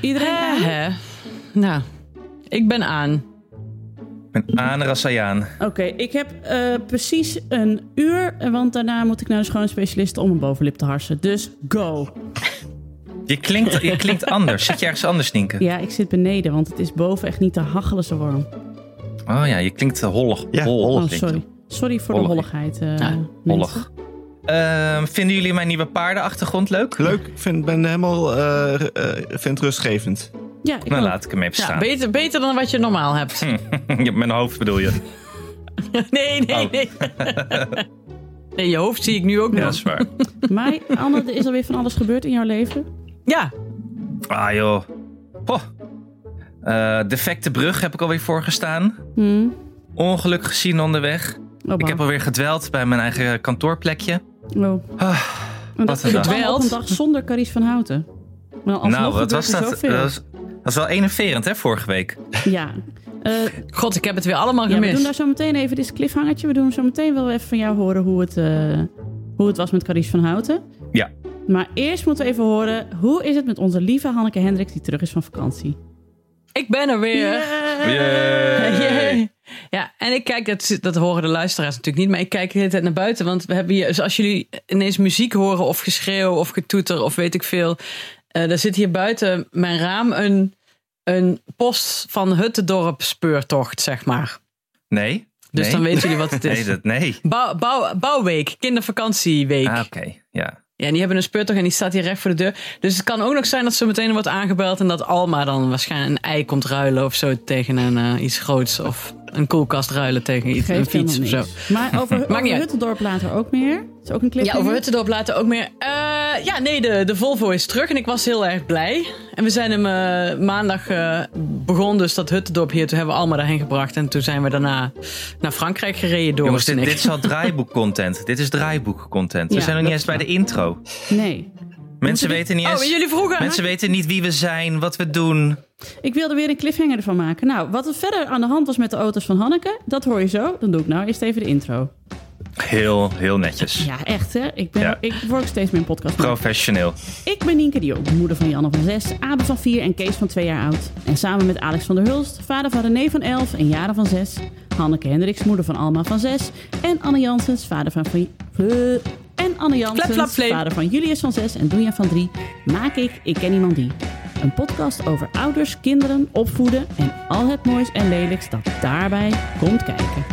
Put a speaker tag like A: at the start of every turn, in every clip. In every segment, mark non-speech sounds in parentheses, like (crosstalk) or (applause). A: Iedereen aan?
B: Hè, hè. Nou, ik ben aan.
C: Een aanrassajaan.
A: Oké, ik heb eh, precies een uur, want daarna moet ik naar de schoonspecialist om een bovenlip te harsen. Dus go.
C: Je klinkt, je klinkt anders. Zit je ergens anders, Nienke?
A: Ja, ik zit beneden, want het is boven echt niet te hachelen zo warm.
C: Oh ja, je klinkt eh, hollig.
D: Ja,
C: Hol,
D: hollig
A: Oh,
C: klinkt
A: sorry. Sorry voor de
C: Hollig.
A: holligheid. eh,
B: Ja,
A: mensen.
C: Hollig. Ehm, vinden jullie mijn nieuwe paardenachtergrond leuk?
D: Leuk, ik vind, ben helemaal eh, eh, vind het rustgevend.
A: Ja, ik
C: Nou,
A: ook.
C: laat ik hem even
B: Ja,
C: staan.
B: beter, beter dan wat je normaal hebt.
C: Hm. (laughs) Ja, Mijn hoofd bedoel je.
B: (laughs) Nee, nee,
C: Oh.
B: nee.
C: (laughs)
B: Nee, je hoofd zie ik nu ook
C: Ja,
B: nog.
C: dat is waar.
A: Maar Anne, er is alweer van alles gebeurd in jouw leven.
B: Ja,
C: Ah joh. Ho. Eh, defecte brug heb ik alweer voorgestaan.
A: Hm.
C: Ongeluk gezien onderweg.
A: Oh,
C: Ik
A: bang.
C: heb alweer gedweld bij mijn eigen kantoorplekje.
A: Oh. En
C: Ah, wat
A: dat
C: een dag.
A: allemaal op een
B: Dwelt.
A: dag zonder Carice van Houten. Maar alsnog
C: nou, wat
A: gebeurt
C: was
A: er
C: dat?
A: zoveel.
C: Dat was, dat was wel enerverend, hè, vorige week.
A: Ja. Eh,
B: god, ik heb het weer allemaal
A: ja, we
B: gemist.
A: doen daar zo meteen even dit is cliffhangertje. We doen zo meteen wel even van jou horen hoe het, eh, hoe het was met Carice van Houten.
C: Ja.
A: Maar eerst moeten we even horen, hoe is het met onze lieve Hanneke Hendrik die terug is van vakantie?
B: Ik ben er weer. (laughs)
C: Yay.
B: Yay. Ja, en ik kijk, dat, dat horen de luisteraars natuurlijk niet, maar ik kijk de hele tijd naar buiten. Want we hebben hier, dus als jullie ineens muziek horen of geschreeuw of getoeter of weet ik veel. eh er zit hier buiten mijn raam een, een post van Huttendorp speurtocht, zeg maar.
C: Nee.
B: Dus
C: nee.
B: dan weten jullie wat
C: (laughs)
B: het is.
C: Nee, dat, nee.
B: Bouw, bouw, bouwweek, kindervakantieweek.
C: Ah, oké. Ja.
B: Ja, en die hebben een speurtocht en die staat hier recht voor de deur. Dus het kan ook nog zijn dat ze meteen wordt aangebeld en dat Alma dan waarschijnlijk een ei komt ruilen of zo tegen een, eh, iets groots. Of een koelkast ruilen tegen iets, een
A: Geeft helemaal
B: fiets of zo.
A: niks. Maar
B: (laughs)
A: over, over
B: niet uit.
A: Huttendorp later ook meer. Het is ook een
B: Ja,
A: cliffhanger.
B: over Huttendorp later ook meer. Eh, ja, nee, de, de Volvo is terug en ik was heel erg blij. En we zijn hem eh, maandag eh begonnen, dus dat Huttendorp hier. Toen hebben we Alma daarheen gebracht en toen zijn we daarna naar Frankrijk gereden door.
C: Jongens, dit, dit is al draaiboek-content. dit is draaiboek-content. We
A: Ja,
C: zijn nog
A: dat
C: niet eens bij de intro.
A: Nee.
C: Mensen weten niet
B: Oh,
C: eens...
B: en jullie vroegen.
C: Mensen weten niet wie we zijn, wat we doen.
A: Ik wilde weer een cliffhanger ervan maken. Nou, wat er verder aan de hand was met de auto's van Hanneke, dat hoor je zo. Dan doe ik nou eerst even de intro.
C: Heel, heel netjes.
A: Ja, echt hè. Ik, ben,
C: Ja.
A: ik word ook steeds meer een podcast.
C: Professioneel.
A: Ik ben Nienke de Jong, moeder van Janne van 6, Abe van 4 en Kees van 2 jaar oud. En samen met Alex van der Hulst, vader van René van 11 en Jaren van 6. Hanneke Hendricks, moeder van Alma van 6. En Anne Jansens, vader van... van eh, en Anne Jansens,
B: Flap, flap, flap.
A: vader van Julius van 6 en Doenja van 3. Maak ik Ik Ken Iemand Die. Een podcast over ouders, kinderen, opvoeden en al het moois en lelijks dat daarbij komt kijken.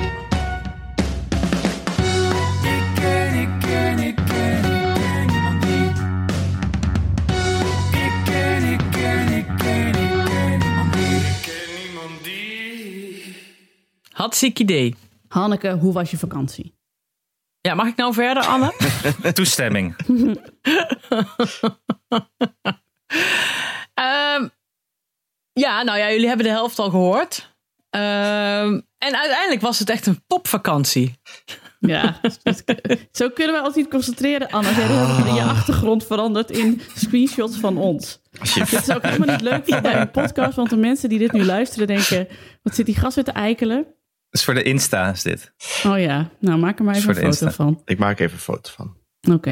B: Had ziek idee.
A: Hanneke, hoe was je vakantie?
B: Ja, mag ik nou
A: (laughs)
B: verder, Anne? (laughs)
C: Toestemming.
B: Ehm, ja, nou ja, jullie hebben de helft al gehoord. Ehm, en uiteindelijk was het echt een topvakantie.
A: Ja, dus dat- (laughs) zo kunnen we ons niet concentreren, Anna. Jij hebt je achtergrond veranderd in screenshots van ons. Dit is ook helemaal niet leuk voor bij een podcast, want de mensen die dit nu luisteren denken... Wat zit die gast weer te eikelen?
C: Dat is voor de Insta, is dit.
A: Oh ja, nou maak er maar even
C: Voor
A: een
C: de
A: foto
C: Insta.
A: van.
D: Ik maak even een foto van.
A: Oké,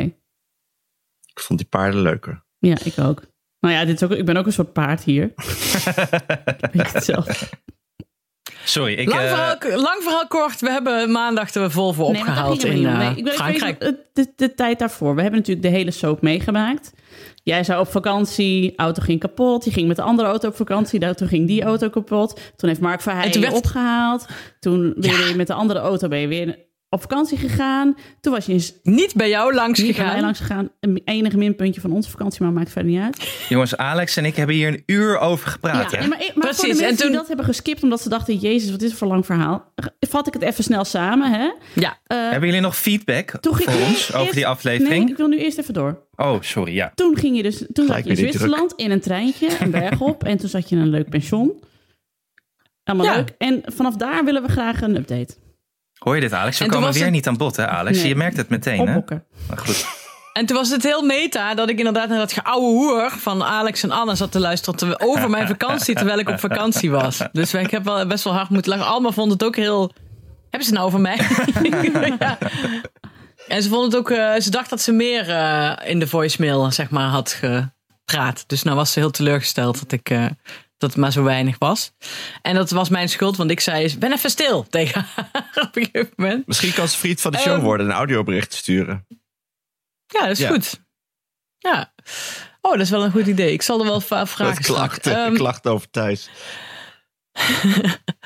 D: Ik vond die paarden leuker.
A: ja, ik ook. Nou ja, dit is ook, ik ben ook een soort paard
C: (laughs)
A: hier. Ik weet het zelf.
C: Sorry, ik...
B: Lang
C: eh,
B: verhaal, lang verhaal kort, we hebben maandag de Volvo
A: Nee, maar dat
B: opgehaald
A: ging
B: in
A: helemaal niet om. Nee,
B: eh,
A: ik wil even
B: Frankrijk.
A: weten, eh, de, de tijd daarvoor. We hebben natuurlijk de hele soap meegemaakt. Jij zou op vakantie, auto ging kapot. Je ging met de andere auto op vakantie, daar- toen ging die auto kapot. Toen heeft Mark Verheij
B: En toen
A: je
B: werd-
A: opgehaald. Toen ben je met de andere auto ben je weer op vakantie gegaan. Toen was je eens
B: Niet bij jou langs
A: niet bij mij
B: gegaan.
A: langs gegaan. Een enige minpuntje van onze vakantie, maar maakt verder niet uit.
C: Jongens, Alex en ik hebben hier een uur over gepraat. hè?
A: nee, maar, maar voor de
B: Precies, en
A: mensen
B: toen-
A: die dat hebben geskipt omdat ze dachten... Jezus, wat is het voor lang verhaal? Vat ik het even snel samen, hè?
B: Ja,
C: Hebben jullie nog feedback
A: Toen ging-
C: voor
A: nee,
C: ons over
A: eerst-
C: die aflevering?
A: Nee, ik wil nu eerst even door.
C: Oh, sorry, ja.
A: toen ging je dus, toen zat je in
D: weer die
A: Zwitserland in een treintje, een berg op. en toen zat je in een leuk pension. Allemaal
B: Ja.
A: leuk. En vanaf daar willen we graag een update.
C: Hoor je dit, Alex? We
B: En toen
C: komen
B: was
C: weer
B: het-
C: niet aan bod, hè, Alex?
A: Nee.
C: Je merkt het meteen, hè?
A: Opbokken.
C: Maar goed.
B: en toen was het heel meta dat ik inderdaad naar dat geouwe hoer van Alex en Anne zat te luisteren terwijl- over mijn vakantie, terwijl ik op vakantie was. Dus ik heb wel best wel hard moeten lachen. Alma vond het ook heel... Hebben ze het nou over mij? (laughs) ja. En ze vond het ook... eh, ze dacht dat ze meer eh, in de voicemail, zeg maar, had ge- praat. Dus nou was ze heel teleurgesteld dat ik... eh, dat het maar zo weinig was. En dat was mijn schuld, want ik zei eens... ben even stil tegen haar (laughs) op een gegeven moment.
D: Misschien kan ze vriend van de show
B: Ehm.
D: worden en een audiobericht sturen.
B: Ja, dat is
D: Ja.
B: goed. Ja. Oh, dat is wel een goed idee. Ik zal er wel va-
D: Met
B: vragen straks.
D: klachten,
B: Ehm,
D: klachten eh, over Thijs.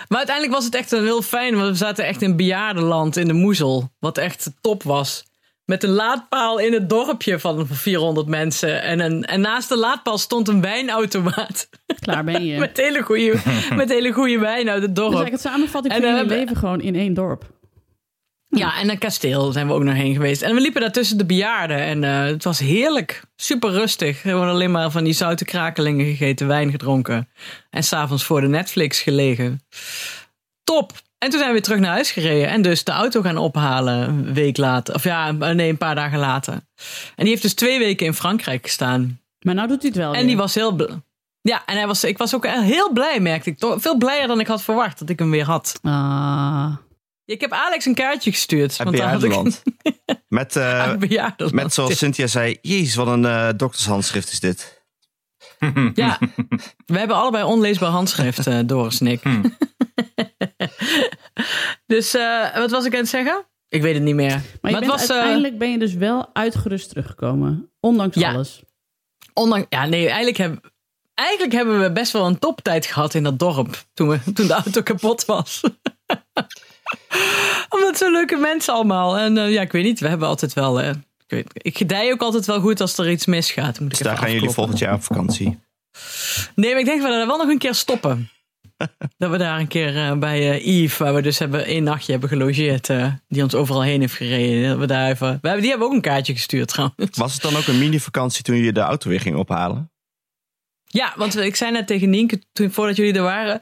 B: maar uiteindelijk was het echt een heel fijn, want we zaten echt in bejaardenland in de Moezel. Wat echt top was. Met een laadpaal in het dorpje van 400 mensen. En, een, en naast de laadpaal stond een wijnautomaat.
A: Klaar ben je.
B: (laughs) Met hele goede, met hele goede wijn uit het
A: Dus
B: dorp.
A: eigenlijk het samenvatting
B: En eh,
A: van
B: dan
A: jullie
B: hebben-
A: leven gewoon in één dorp.
B: Ja, en een kasteel zijn we ook nog heen geweest. En we liepen daar tussen de bejaarden. En eh, het was heerlijk. Super rustig. Gewoon alleen maar van die zoute krakelingen gegeten, wijn gedronken. En s'avonds voor de Netflix gelegen. Top! En toen zijn we weer terug naar huis gereden. En dus de auto gaan ophalen een week later. Of ja, nee, een paar dagen later. En die heeft dus twee weken in Frankrijk gestaan.
A: Maar nou doet hij het wel.
B: En die
A: weer.
B: was heel... bl- Ja, en hij was, ik was ook heel blij, merkte ik. Toch Veel blijer dan ik had verwacht dat ik hem weer had.
A: Ah,
B: Ik heb Alex een kaartje gestuurd.
D: Uit
B: want daar had ik-
D: bejaardenland. Met, eh,
B: Uit bejaardenland.
D: met zoals Cynthia zei, jezus, wat een eh, doktershandschrift is dit. (laughs)
B: Ja, we hebben allebei onleesbaar handschrift, eh, Doris en ik.
D: Hmm.
B: (laughs) dus eh, wat was ik aan het zeggen? Ik weet het niet meer.
A: Maar je bent,
B: het was, eh,
A: uiteindelijk ben je dus wel uitgerust teruggekomen. Ondanks
B: Ja.
A: alles.
B: ondanks- ja, nee, eigenlijk, heb, eigenlijk hebben we best wel een toptijd gehad in dat dorp. Toen, we, toen de auto kapot was. (laughs) Omdat zo leuke mensen allemaal. En eh, ja, ik weet niet, we hebben altijd wel... eh, ik, weet, ik gedij ook altijd wel goed als er iets misgaat. Moet ik
D: Dus
B: even
D: daar gaan jullie
B: afkloppen.
D: volgend jaar op vakantie.
B: Nee, maar ik denk dat we daar wel nog een keer stoppen. dat we daar een keer eh, bij eh Yves, waar we dus hebben één nachtje hebben gelogeerd, eh, die ons overal heen heeft gereden. Dat we daar even, we hebben, die hebben ook een kaartje gestuurd trouwens.
D: Was het dan ook een mini-vakantie toen jullie de auto weer ging ophalen?
B: Ja, want ik zei net tegen Nienke, toen, voordat jullie er waren,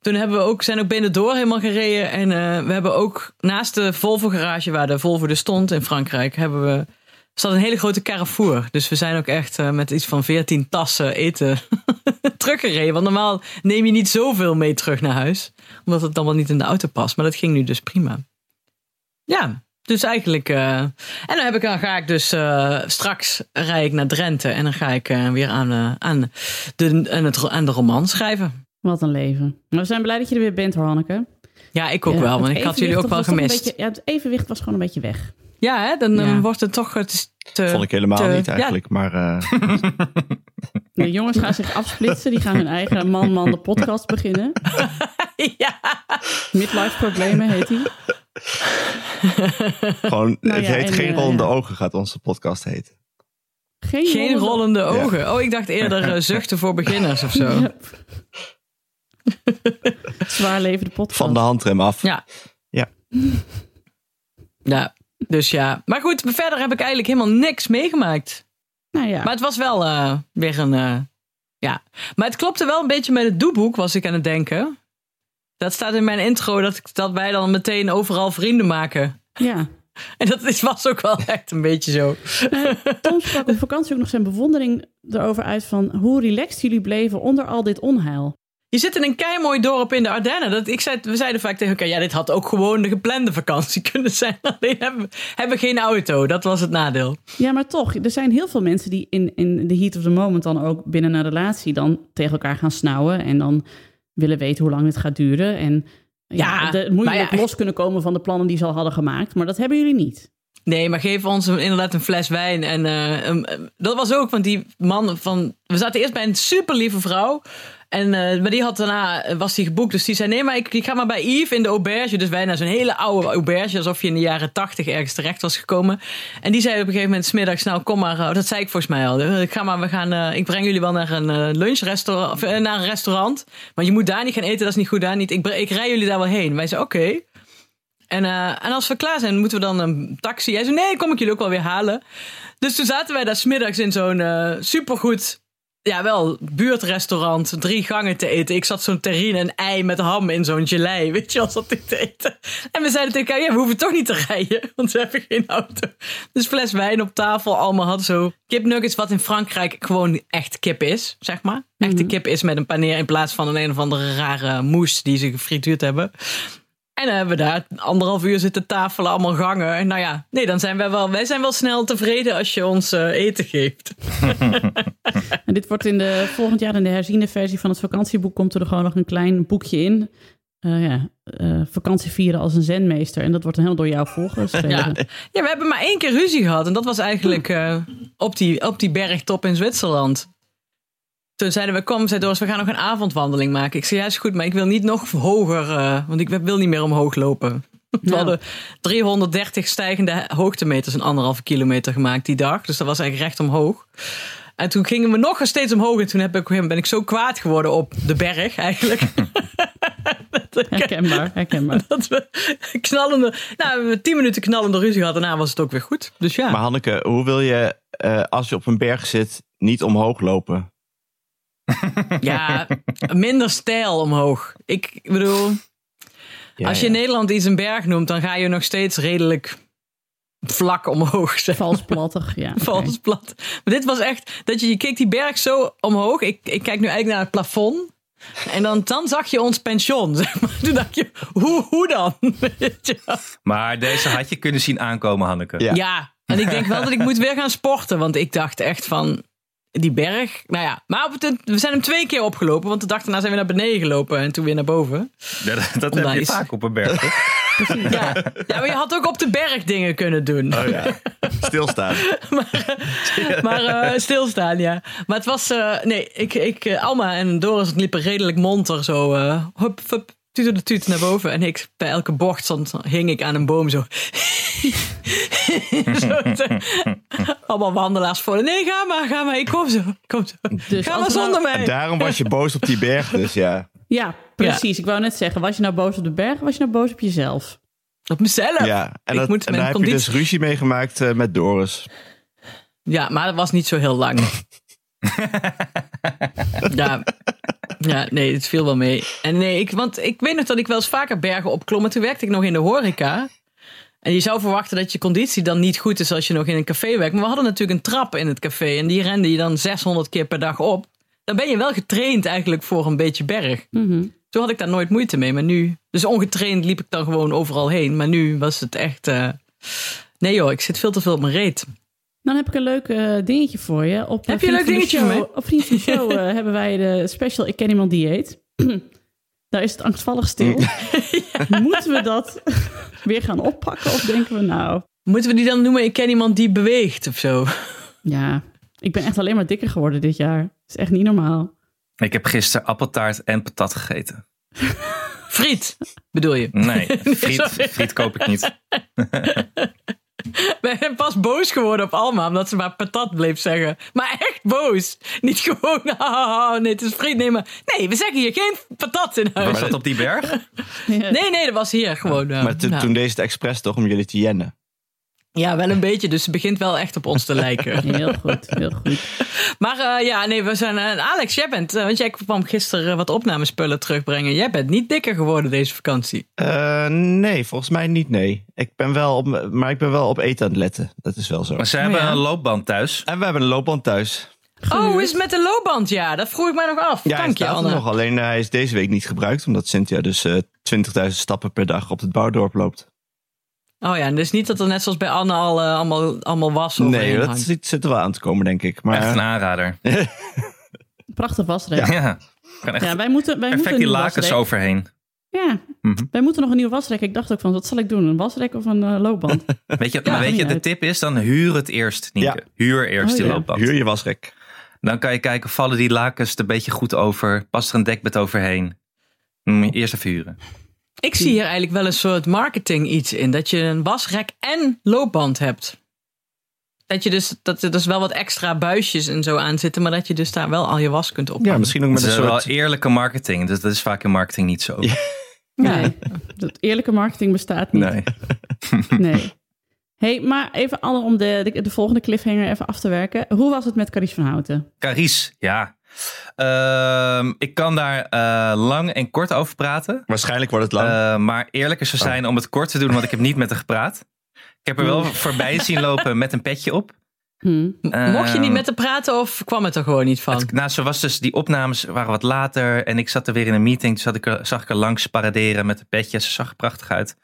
B: toen hebben we ook, zijn ook Benidorm helemaal gereden. En eh, we hebben ook naast de Volvo garage, waar de Volvo dus stond in Frankrijk, hebben we, zat een hele grote Carrefour. Dus we zijn ook echt eh, met iets van 14 tassen eten (laughs) teruggereden. Want normaal neem je niet zoveel mee terug naar huis, omdat het dan wel niet in de auto past. Maar dat ging nu dus prima. Ja, dus eigenlijk. eh, en dan, heb ik, dan ga ik dus eh, straks rij ik naar Drenthe en dan ga ik eh, weer aan, eh, aan, de, aan, het, aan de roman schrijven.
A: Wat een leven. Maar we zijn blij dat je er weer bent, hoor, Hanneke.
B: Ja, ik ook
A: Ja,
B: wel, want
A: het
B: ik had jullie
A: evenwicht
B: ook
A: was toch
B: wel
A: een
B: gemist.
A: beetje- ja, het evenwicht was gewoon een beetje
B: (laughs)
A: weg.
B: Ja, hè? dan eh,
A: Ja.
B: wordt het toch. Het is te-
D: Vond ik helemaal
B: te-
D: niet
B: Eh, ja.
D: eigenlijk, maar eh,
A: De jongens gaan zich afsplitsen. Die gaan hun eigen man-man de podcast beginnen.
B: (laughs) ja.
A: Midlife problemen heet die.
D: gewoon,
A: Nou
D: het
A: ja,
D: heet
A: en,
D: Geen
A: eh,
D: Rollende
A: ja.
D: Ogen gaat onze podcast heten.
A: Geen,
B: Geen
A: rollende-
B: rollende ogen. Oh, ik dacht eerder eh, zuchten voor beginners of zo.
A: Ja. (laughs) Zwaar leven de podcast.
D: Van de handrem af.
B: Ja.
D: Ja.
B: (laughs) Ja, dus ja. Maar goed, verder heb ik eigenlijk helemaal niks meegemaakt.
A: Nou ja.
B: Maar het was wel eh, weer een. eh, ja. Maar het klopte wel een beetje met het doeboek, was ik aan het denken. Dat staat in mijn intro dat, ik, dat wij dan meteen overal vrienden maken.
A: ja.
B: (laughs) En dat is, was ook wel (laughs) echt een beetje zo.
A: Tom sprak op vakantie ook nog zijn bewondering erover uit van hoe relaxed jullie bleven onder al dit onheil.
B: Je zit in een keimooi dorp in de Ardennen. Dat, ik zei, we zeiden vaak tegen elkaar, ja, dit had ook gewoon de geplande vakantie (laughs) kunnen zijn. Alleen hebben, we- hebben we geen auto. Dat was het nadeel.
A: Ja, maar toch, er zijn heel veel mensen die in, in de heat of the moment dan ook binnen een relatie dan tegen elkaar gaan snauwen en dan willen weten hoe lang het gaat duren. En ja,
B: Ja,
A: de, moeilijk
B: maar ja.
A: los kunnen komen van de plannen die ze al hadden gemaakt. Maar dat hebben jullie niet.
B: Nee, maar geef ons een, inderdaad een fles wijn. En eh, een- een- dat was ook, want die man van. We zaten eerst bij een super lieve vrouw. En, eh, maar die had daarna eh, was die geboekt. Dus die zei: Nee, maar ik, ik ga maar bij Yves in de auberge. Dus wij naar zo'n hele oude auberge. Alsof je in de jaren tachtig ergens terecht was gekomen. En die zei op een gegeven moment: Smiddags, nou kom maar. eh, dat zei ik volgens mij al. Eh, Ik ga maar, we gaan. eh, ik breng jullie wel naar een eh, lunchrestaurant. Of eh, naar een restaurant. Want je moet daar niet gaan eten. Dat is niet goed daar niet. Ik, bre- ik rij jullie daar wel heen. Wij zeiden: Oké. En, eh, en als we klaar zijn, moeten we dan een taxi? Hij zei, nee, kom ik jullie ook wel weer halen. Dus toen zaten wij daar smiddags in zo'n eh, supergoed, ja wel, buurtrestaurant, drie gangen te eten. Ik zat zo'n terrine en ei met ham in zo'n gelei, (laughs) weet je wel, zat ik te eten. En we zeiden tegen elkaar, ja, we hoeven toch niet te rijden, (laughs) want we hebben geen auto. Dus fles wijn op tafel, allemaal had zo kipnuggets, wat in Frankrijk gewoon echt kip is, zeg maar. Echte kip is met een paneer in plaats van een een of andere rare moes die ze gefrituurd hebben. En dan hebben we daar anderhalf uur zitten tafelen, allemaal gangen. Nou ja, nee, dan zijn wij wel, wij zijn wel snel tevreden als je ons eh, eten geeft.
A: En dit wordt in de volgend jaar in de herziene versie van het vakantieboek komt er gewoon nog een klein boekje in. Eh, ja, eh, vakantie vieren als een zenmeester. En dat wordt dan helemaal door jou voorgeschreven.
B: (laughs) Ja. ja, we hebben maar één keer ruzie gehad. En dat was eigenlijk eh, op, die, op die bergtop in Zwitserland. Toen zeiden we, kom, zei Doris, we gaan nog een avondwandeling maken. Ik zei, ja, is goed, maar ik wil niet nog hoger, eh, want ik wil niet meer omhoog lopen. (laughs) We
A: Ja.
B: hadden 330 stijgende hoogtemeters in anderhalve kilometer gemaakt die dag. Dus dat was eigenlijk recht omhoog. En toen gingen we nog steeds omhoog. En toen heb ik, ben ik zo kwaad geworden op de berg eigenlijk. (laughs) Dat ik-
A: Herkenbaar, herkenbaar.
B: dat we knallende. Nou, we hebben tien minuten knallende ruzie gehad. Daarna was het ook weer goed. Dus ja.
D: Maar Hanneke, hoe wil je eh, als je op een berg zit niet omhoog lopen?
B: ja, minder stijl omhoog. Ik bedoel, als je in Nederland iets een berg noemt, dan ga je nog steeds redelijk vlak omhoog. (laughs) Zeg.
A: Vals plattig, ja. oké.
B: Vals plat. Maar dit was echt dat je, je keek die berg zo omhoog. Ik, ik kijk nu eigenlijk naar het plafond. En dan, dan zag je ons pension. (laughs) Zeg maar. Toen dacht je, hoe, hoe dan? (laughs) Weet je wel.
C: Maar deze had je kunnen zien aankomen, Hanneke.
D: Ja.
B: Ja, en ik denk wel dat ik moet weer gaan sporten. Want ik dacht echt van die berg. Nou ja, maar op het, we zijn hem twee keer opgelopen. Want de dag daarna zijn we naar beneden gelopen en toen weer naar boven.
C: Ja, (laughs) dat dat heb je
B: Onwijs.
C: vaak op een berg. hoor.
A: Precies.
B: Ja, ja maar je had ook op de berg dingen kunnen doen.
D: Oh ja, stilstaan.
B: Maar eh, stilstaan, ja. Maar het was, eh, nee, ik, ik, eh, Alma en Doris liepen redelijk monter zo. eh hup, hup, tuter de tuut naar boven. En ik, bij elke bocht stond, hing ik aan een boom zo. (laughs) Zo te- allemaal wandelaars voor. Nee, ga maar, ga maar. Ik kom zo. Kom zo.
A: Dus
B: ga
A: als
B: maar
A: we nou-
B: zonder mij.
D: En daarom was je boos op die berg dus, ja.
A: Ja, precies. Ik wou net zeggen, was je nou boos op de berg? Was je nou boos op jezelf?
B: Op mezelf.
D: ja. En,
B: Nou, Ik
D: dat,
B: moet
D: en
B: mijn
D: daar heb je
B: conditie-
D: dus ruzie mee gemaakt eh, met Doris.
B: Ja, maar dat was niet zo heel lang. ja. ja, nee, het viel wel mee. En nee, ik, want ik weet nog dat ik wel eens vaker bergen opklom. Maar toen werkte ik nog in de horeca. En je zou verwachten dat je conditie dan niet goed is als je nog in een café werkt. Maar we hadden natuurlijk een trap in het café. En die rende je dan 600 keer per dag op. Dan ben je wel getraind eigenlijk voor een beetje berg.
A: Mhm.
B: Toen had ik daar nooit moeite mee, maar nu... Dus ongetraind liep ik dan gewoon overal heen. Maar nu was het echt... eh, Nee joh, ik zit veel te veel op mijn reet.
A: Dan heb ik een leuk eh, dingetje voor je. Op
B: Heb
A: eh,
B: je een leuk
A: Vriend van de
B: dingetje voor
A: show, Op Vriend van de Show eh, (laughs) hebben wij de special Ik ken iemand dieet. (clears throat) Daar is het angstvallig stil.
B: Mm.
A: (laughs)
B: (laughs)
A: Moeten we dat weer gaan oppakken? Of denken we nou...
B: Moeten we die dan noemen? Ik ken iemand die beweegt of zo. (laughs)
A: Ja, ik ben echt alleen maar dikker geworden dit jaar. Dat is echt niet normaal.
C: Ik heb gisteren appeltaart en patat gegeten.
B: Friet, bedoel (laughs) je?
C: (laughs) Nee,
B: sorry.
C: friet, friet koop ik niet.
B: We zijn pas boos geworden op Alma, omdat ze maar patat bleef zeggen. Maar echt boos. Niet gewoon, (laughs) ah, ah, ah, nee, het is friet. Nee, maar nee, we zeggen hier geen patat in huis.
C: Was dat op die berg?
B: Nee, nee, dat was hier gewoon. eh,
D: Maar to-
B: nou.
D: toen deed ze het expres toch om jullie te jennen.
B: Ja, wel een beetje, dus ze begint wel echt op ons te
D: (laughs)
A: (laughs)
B: lijken.
A: Heel goed, heel goed.
B: Maar eh, ja, nee, we zijn... eh, Alex, jij bent... eh, want jij kwam gisteren eh, wat opnamespullen terugbrengen. Jij bent niet dikker geworden deze vakantie.
D: Eh, nee, volgens mij niet, nee. Ik ben wel op, m- maar ik ben wel op eten aan het letten. Dat is wel zo.
C: Maar (laughs) ze
B: Oh,
C: hebben
B: ja.
C: een loopband thuis.
D: En we hebben een loopband thuis.
B: Oh, hoe is het met de loopband? Ja, dat vroeg ik mij nog af.
D: Ja, hij
B: Dank je,
D: staat er
B: Anne.
D: nog. Alleen eh, hij is deze week niet gebruikt. Omdat Cynthia dus eh 20.000 stappen per dag op het bouwdorp loopt.
B: Oh ja, en dus niet dat er net zoals bij Anne al eh, allemaal, allemaal was of
D: Nee, dat zit, zit er wel aan te komen, denk ik. Maar
C: Echt een aanrader.
A: Prachtig wasrek. Ja,
C: Ja, kan
A: wij
C: echt
A: moeten, wij moeten
C: perfect
A: een
C: die
A: nieuw
C: lakens
A: wasrek.
C: overheen.
A: Ja,
C: Mhm.
A: wij moeten nog een nieuw wasrek. Ik dacht ook van, wat zal ik doen? Een wasrek of een eh,
C: (laughs)
A: loopband?
C: Weet je,
A: Ja,
C: maar weet je,
A: niet
C: de
A: uit.
C: tip is dan huur het eerst, Nienke.
D: Ja.
C: Huur eerst
A: Oh,
C: die
A: ja.
C: loopband.
D: huur je wasrek.
C: Dan kan je kijken, vallen die lakens er een beetje goed over? Past er een dekbed overheen? Dan moet je eerst even huren.
B: Ik zie hier eigenlijk wel een soort marketing iets in. Dat je een wasrek en loopband hebt. Dat je dus, dat er dus wel wat extra buisjes en zo aan zitten. Maar dat je dus daar wel al je was kunt op.
D: Ja, misschien ook
C: Dat
D: met een
C: is wel
D: soort...
C: eerlijke marketing. Dus dat is vaak in marketing niet zo.
D: Ja.
A: Nee, dat eerlijke marketing bestaat niet.
C: Nee.
A: Nee. hey, maar even alle om de, de, de volgende cliffhanger even af te werken. Hoe was het met Carice van Houten?
C: Caries, ja. Ehm, ik kan daar eh, lang en kort over praten.
D: Waarschijnlijk wordt het lang.
C: Eh, maar eerlijker
B: Oh.
C: zou zijn
B: Hmm.
C: om het kort te doen, want ik heb niet met haar gepraat. Ik heb er wel voorbij zien lopen met een petje op.
A: Hm.
C: Ehm,
B: Mocht je niet met haar praten of kwam het er gewoon niet van?
C: het- nou, ze was dus, die opnames waren wat later. En ik zat er weer in een meeting. Toen zat ik er, zag ik er langs paraderen met de petje. Ze zag er prachtig uit.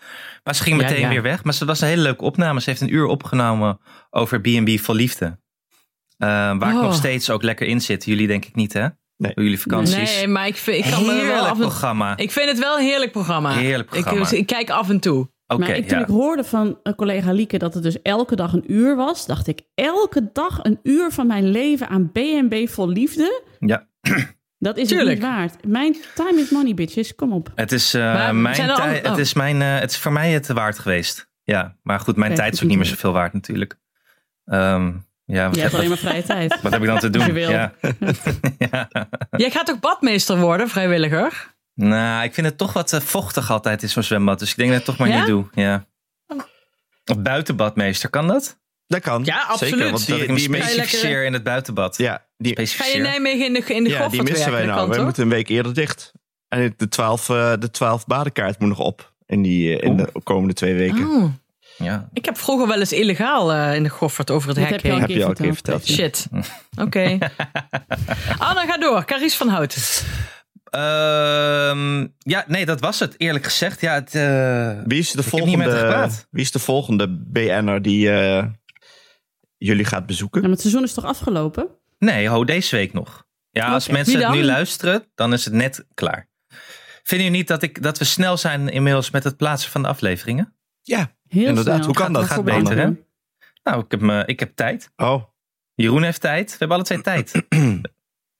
C: Maar ze ging
B: Ja,
C: meteen
B: ja.
C: weer weg. Maar ze was een hele leuke opname. Ze heeft een uur opgenomen over B&B voor liefde. Ehm, waar ik
B: Oh.
C: nog steeds ook lekker in zit. Jullie denk ik niet, hè?
D: Nee.
C: Jullie vakanties.
B: Nee, maar ik vind, ik kan me er wel
C: Heerlijk
B: af en
C: programma.
B: Ik vind het wel een heerlijk programma.
C: Heerlijk programma.
B: Ik, ik kijk af en toe.
C: Oké,
A: maar ik, toen
C: ja.
A: ik hoorde van een collega Lieke dat het dus elke dag een uur was, dacht ik, elke dag een uur van mijn leven aan BNB vol liefde?
C: ja.
A: Dat is
B: Tuurlijk.
A: het niet waard. Mijn time is money, bitches. Kom op.
C: Het is, eh,
B: Maar
C: mijn
B: zijn er
C: tij-
B: andere-
C: het
B: oh.
C: is mijn, eh, het is voor mij het waard geweest. Ja, maar goed, mijn
A: Oké,
C: tijd is ook
A: goed.
C: niet meer zoveel waard natuurlijk. Ehm, ja, wat,
A: Je
C: heb,
A: hebt alleen
C: wat,
A: maar vrije tijd.
C: heb ik
B: (laughs)
C: dan te
A: je
C: doen?
A: wil.
C: Ja. ja.
B: Jij gaat toch badmeester worden, vrijwilliger?
C: Nou, ik vind het toch wat eh, vochtig altijd in zo'n zwembad. Dus ik denk dat ik het toch maar
B: Ja? Oh.
C: niet doe. Ja. Of buitenbadmeester, kan dat?
D: Dat kan.
B: Ja,
D: Zeker,
B: absoluut.
D: want
C: dat ik
D: die,
C: hem
D: die, mis-
B: lekker-
C: specificeer in het buitenbad.
D: ja, die,
B: Ga je
C: Specificeer.
B: Nijmegen in de, in de
D: ja,
B: goffert
D: die missen wij
B: werken?
D: nou.
B: Dat
D: Wij
B: kan
D: moeten een week eerder dicht. En het- de 12, eh, de 12 badenkaart moet nog op. In, die, eh, in
C: Oeh.
D: de komende twee weken.
B: toch? Oh.
C: Ja.
B: Ik heb vroeger wel eens illegaal eh, in de goffert over het
A: Dat
B: hek
A: heb je al
B: heen.
D: Heb je al een keer verteld.
A: Shit.
C: (laughs)
B: Shit. Oké. Anna, ga door. Caries van Houten.
C: Ehm, ja, nee, dat was het. Eerlijk gezegd, ja, het... eh,
D: Wie is de
C: heb niet met haar
D: volgende,
C: gepraat.
D: wie is de volgende BN'er die eh, jullie gaat
A: Ja,
D: bezoeken?
A: maar het seizoen is toch afgelopen?
C: Nee, ho, deze week nog. Ja, als
A: Oké.
C: mensen
B: Wie
C: het nu
B: dan?
C: luisteren, dan is het net klaar. Vinden jullie niet dat, ik, dat we snel zijn inmiddels met het plaatsen van de afleveringen?
D: Ja.
A: Heel
D: Inderdaad,
A: snel.
D: hoe kan dat?
A: Gaat
C: Gaat
A: voorbij.
C: beter, hè? Nou, ik heb, me, ik heb tijd.
D: Oh,
C: Jeroen heeft tijd. We hebben alle twee tijd. het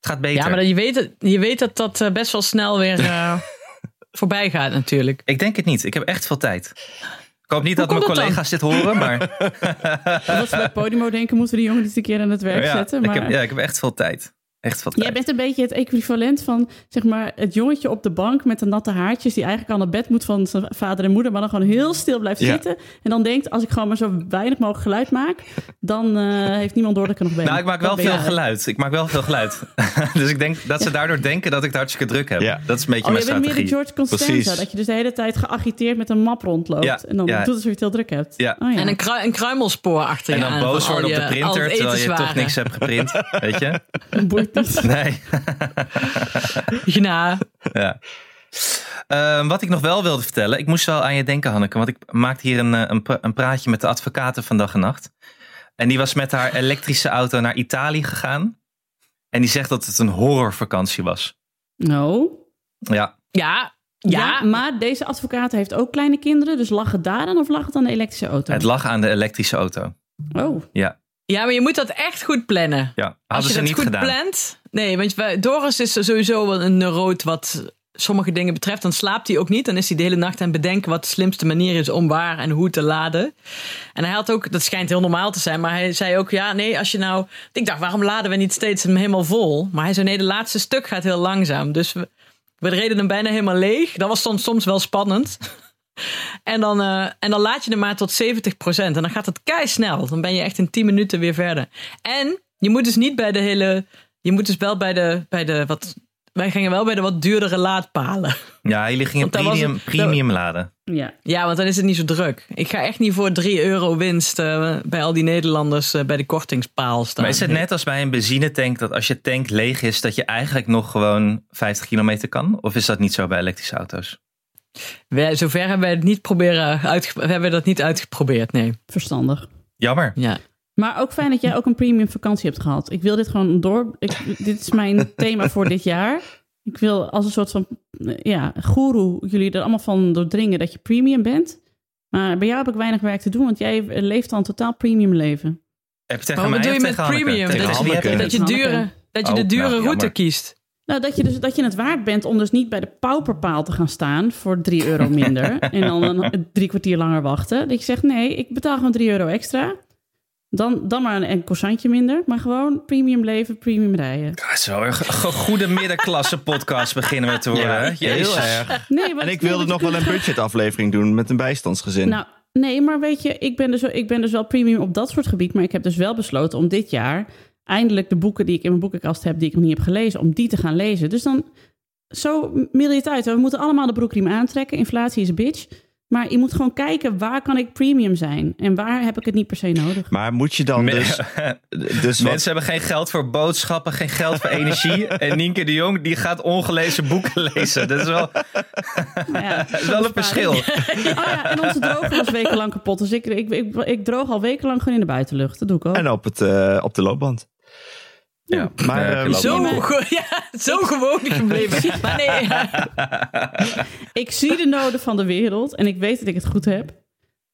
C: gaat beter.
B: Ja, maar dat- je weet, dat- je weet dat dat eh, best wel snel weer
C: (laughs)
B: eh, voorbij gaat natuurlijk.
C: Ik denk het niet. Ik heb echt veel tijd. Ik hoop niet dat
B: komt
C: mijn
B: dat dan?
C: collega's dit
A: (laughs)
C: horen, maar,
A: Als we bij Podimo denken, moeten we die jongen niet een keer aan het werk
C: ja,
A: zetten.
C: ik
A: Maar
C: heb, ja, ik heb echt veel tijd. Echt veel
A: jij
C: tijd.
A: bent een beetje het equivalent van zeg maar, het jongetje op de bank met de natte haartjes... die eigenlijk al naar bed moet van zijn vader en moeder... maar dan gewoon heel stil blijft
D: Ja.
A: zitten. En dan denkt, als ik gewoon maar zo weinig mogelijk geluid maak... dan eh, heeft niemand door dat ik er nog ben.
C: Nou, ik maak
A: Dat
C: wel
A: ben jij.
C: veel geluid. Ik maak wel veel geluid. (laughs) dus ik denk dat ze daardoor denken dat ik het hartstikke druk heb.
D: Ja.
C: Dat is een beetje
A: Oh,
C: mijn
A: je bent meer de
C: strategie.
A: George Costanza.
D: Precies.
A: Dat je dus de hele tijd geagiteerd met een map rondloopt.
C: Ja,
A: en dan
C: ja.
A: doet alsof je het heel druk hebt.
C: Ja.
A: Oh, ja.
B: En een, krui- een kruimelspoor achter
C: En
B: je
C: dan
B: aan
C: boos
B: van al
C: worden op
B: je-
C: de
B: al het
C: printer, terwijl je toch
B: etenswaren.
C: niks hebt
B: (laughs)
C: geprint. Weet je?
A: (laughs) Boeit niet.
C: Nee. (laughs)
B: Ja.
C: ja. Ehm, wat ik nog wel wilde vertellen. Ik moest wel aan je denken, Hanneke. Want ik maakte hier een, eh, een, pra- een praatje met de advocaten van dag en nacht. En die was met haar elektrische auto naar Italië gegaan. En die zegt dat het een horrorvakantie was.
A: No.
C: Ja,
B: Ja.
A: Nou, Ja.
B: Ja.
A: maar deze advocaat heeft ook kleine kinderen. Dus lag het daar aan of lag het aan de elektrische auto?
C: het lag aan de elektrische auto.
A: Oh,
B: ja, maar je moet dat echt goed plannen.
C: Ja,
B: Als
C: hadden
B: je
C: ze
B: dat
C: niet
B: goed
C: gedaan.
B: plant. Nee, want wij- Doris is sowieso wel een neuroot wat sommige dingen betreft. Dan slaapt hij ook niet. Dan is hij de hele nacht aan het bedenken wat de slimste manier is om waar en hoe te laden. En hij had ook, dat schijnt heel normaal te zijn, maar hij zei ook, ja, nee, als je nou... Ik dacht, waarom laden we niet steeds hem helemaal vol? Maar hij zei, nee, de laatste stuk gaat heel langzaam. Dus we, we reden hem bijna helemaal leeg. Dat was soms, soms wel spannend. (laughs) En dan, eh, en dan laat je hem maar tot 70%. En dan gaat het kei snel. Dan ben je echt in 10 minuten weer verder. En je moet dus niet bij de hele. Je moet dus wel bij de. Bij de wat, wij gingen wel bij de wat duurdere laadpalen. (laughs)
C: Ja, jullie gingen
B: Want daar was
C: premium,
B: het-
C: premium laden.
A: ja.
B: Ja, want dan is het niet zo druk. Ik ga echt niet voor 3 euro winst eh, bij al die Nederlanders eh, bij de kortingspaal staan.
C: Maar is het net als bij een benzinetank dat als je tank leeg is, dat je eigenlijk nog gewoon 50 kilometer kan? Of is dat niet zo bij elektrische auto's?
B: We, zover hebben wij het niet proberen. Uitge, we hebben dat niet uitgeprobeerd, nee.
A: verstandig.
C: Jammer.
B: Ja.
A: Maar ook fijn dat jij ook een premium vakantie hebt gehad. Ik wil dit gewoon door. Ik, dit is
D: (laughs)
A: mijn thema voor dit jaar. Ik wil als een soort van eh, ja, goeroe jullie er allemaal van doordringen dat je premium bent. Maar bij jou heb ik weinig werk te doen, want jij leeft al een totaal premium leven.
C: Heb je tegen
B: Maar
C: mij
B: wat doe
C: of
B: je met
C: tegen Hanneke?
B: premium?
C: Tegen
D: Dat is-
C: Hanneke.
D: dat
B: Dat je,
A: Hanneke.
B: dure, dat je de
C: Oh,
B: dure
C: nou,
B: route
C: jammer.
B: kiest.
A: Nou, dat je, dus, dat je het waard bent om dus niet bij de pauperpaal te gaan staan voor 3
D: (laughs)
A: euro minder. en dan een, drie kwartier langer wachten. Dat je zegt, nee, ik betaal gewoon 3 euro extra. Dan, dan maar een enkel croissantje minder. Maar gewoon premium leven, premium rijden.
C: Ja, het is wel erg- een goede middenklasse podcast beginnen we te worden. hè? Jezus.
D: heel erg.
A: Nee, maar
D: En
A: dat
D: ik
A: is
D: wilde
A: niet
D: nog
A: wat
D: wel
A: je
D: een budgetaflevering doen met een bijstandsgezin.
A: kunt- Nou, nee, maar weet je, ik ben, dus, ik ben dus wel premium op dat soort gebied. Maar ik heb dus wel besloten om dit jaar eindelijk de boeken die ik in mijn boekenkast heb, die ik nog niet heb gelezen, om die te gaan lezen. Dus dan, zo middel je het uit. We moeten allemaal de broekriem aantrekken. Inflatie is een bitch. Maar je moet gewoon kijken waar kan ik premium zijn en waar heb ik het niet per se nodig.
D: Maar moet je dan
C: Me- (laughs)
D: dus... dus wat,
C: Mensen hebben geen geld voor boodschappen, geen geld voor energie. En Nienke de Jong die gaat ongelezen boeken lezen. Dat is wel,
A: Maar Nou ja,
C: (laughs) dat is wel een verschil.
A: (laughs) Oh ja, en onze droger was wekenlang kapot. Dus ik, ik, ik, ik droog al wekenlang gewoon in de buitenlucht. Dat doe ik ook.
D: en op, het, eh, op de loopband.
C: Ja,
D: Maar,
C: eh,
D: eh,
C: klopt.
B: Zo, (laughs)
A: Nee, maar-
B: ge- ja, zo
C: (laughs)
B: gewoon gebleven. Maar nee, ja.
A: Ik zie de noden van de wereld en ik weet dat ik het goed heb.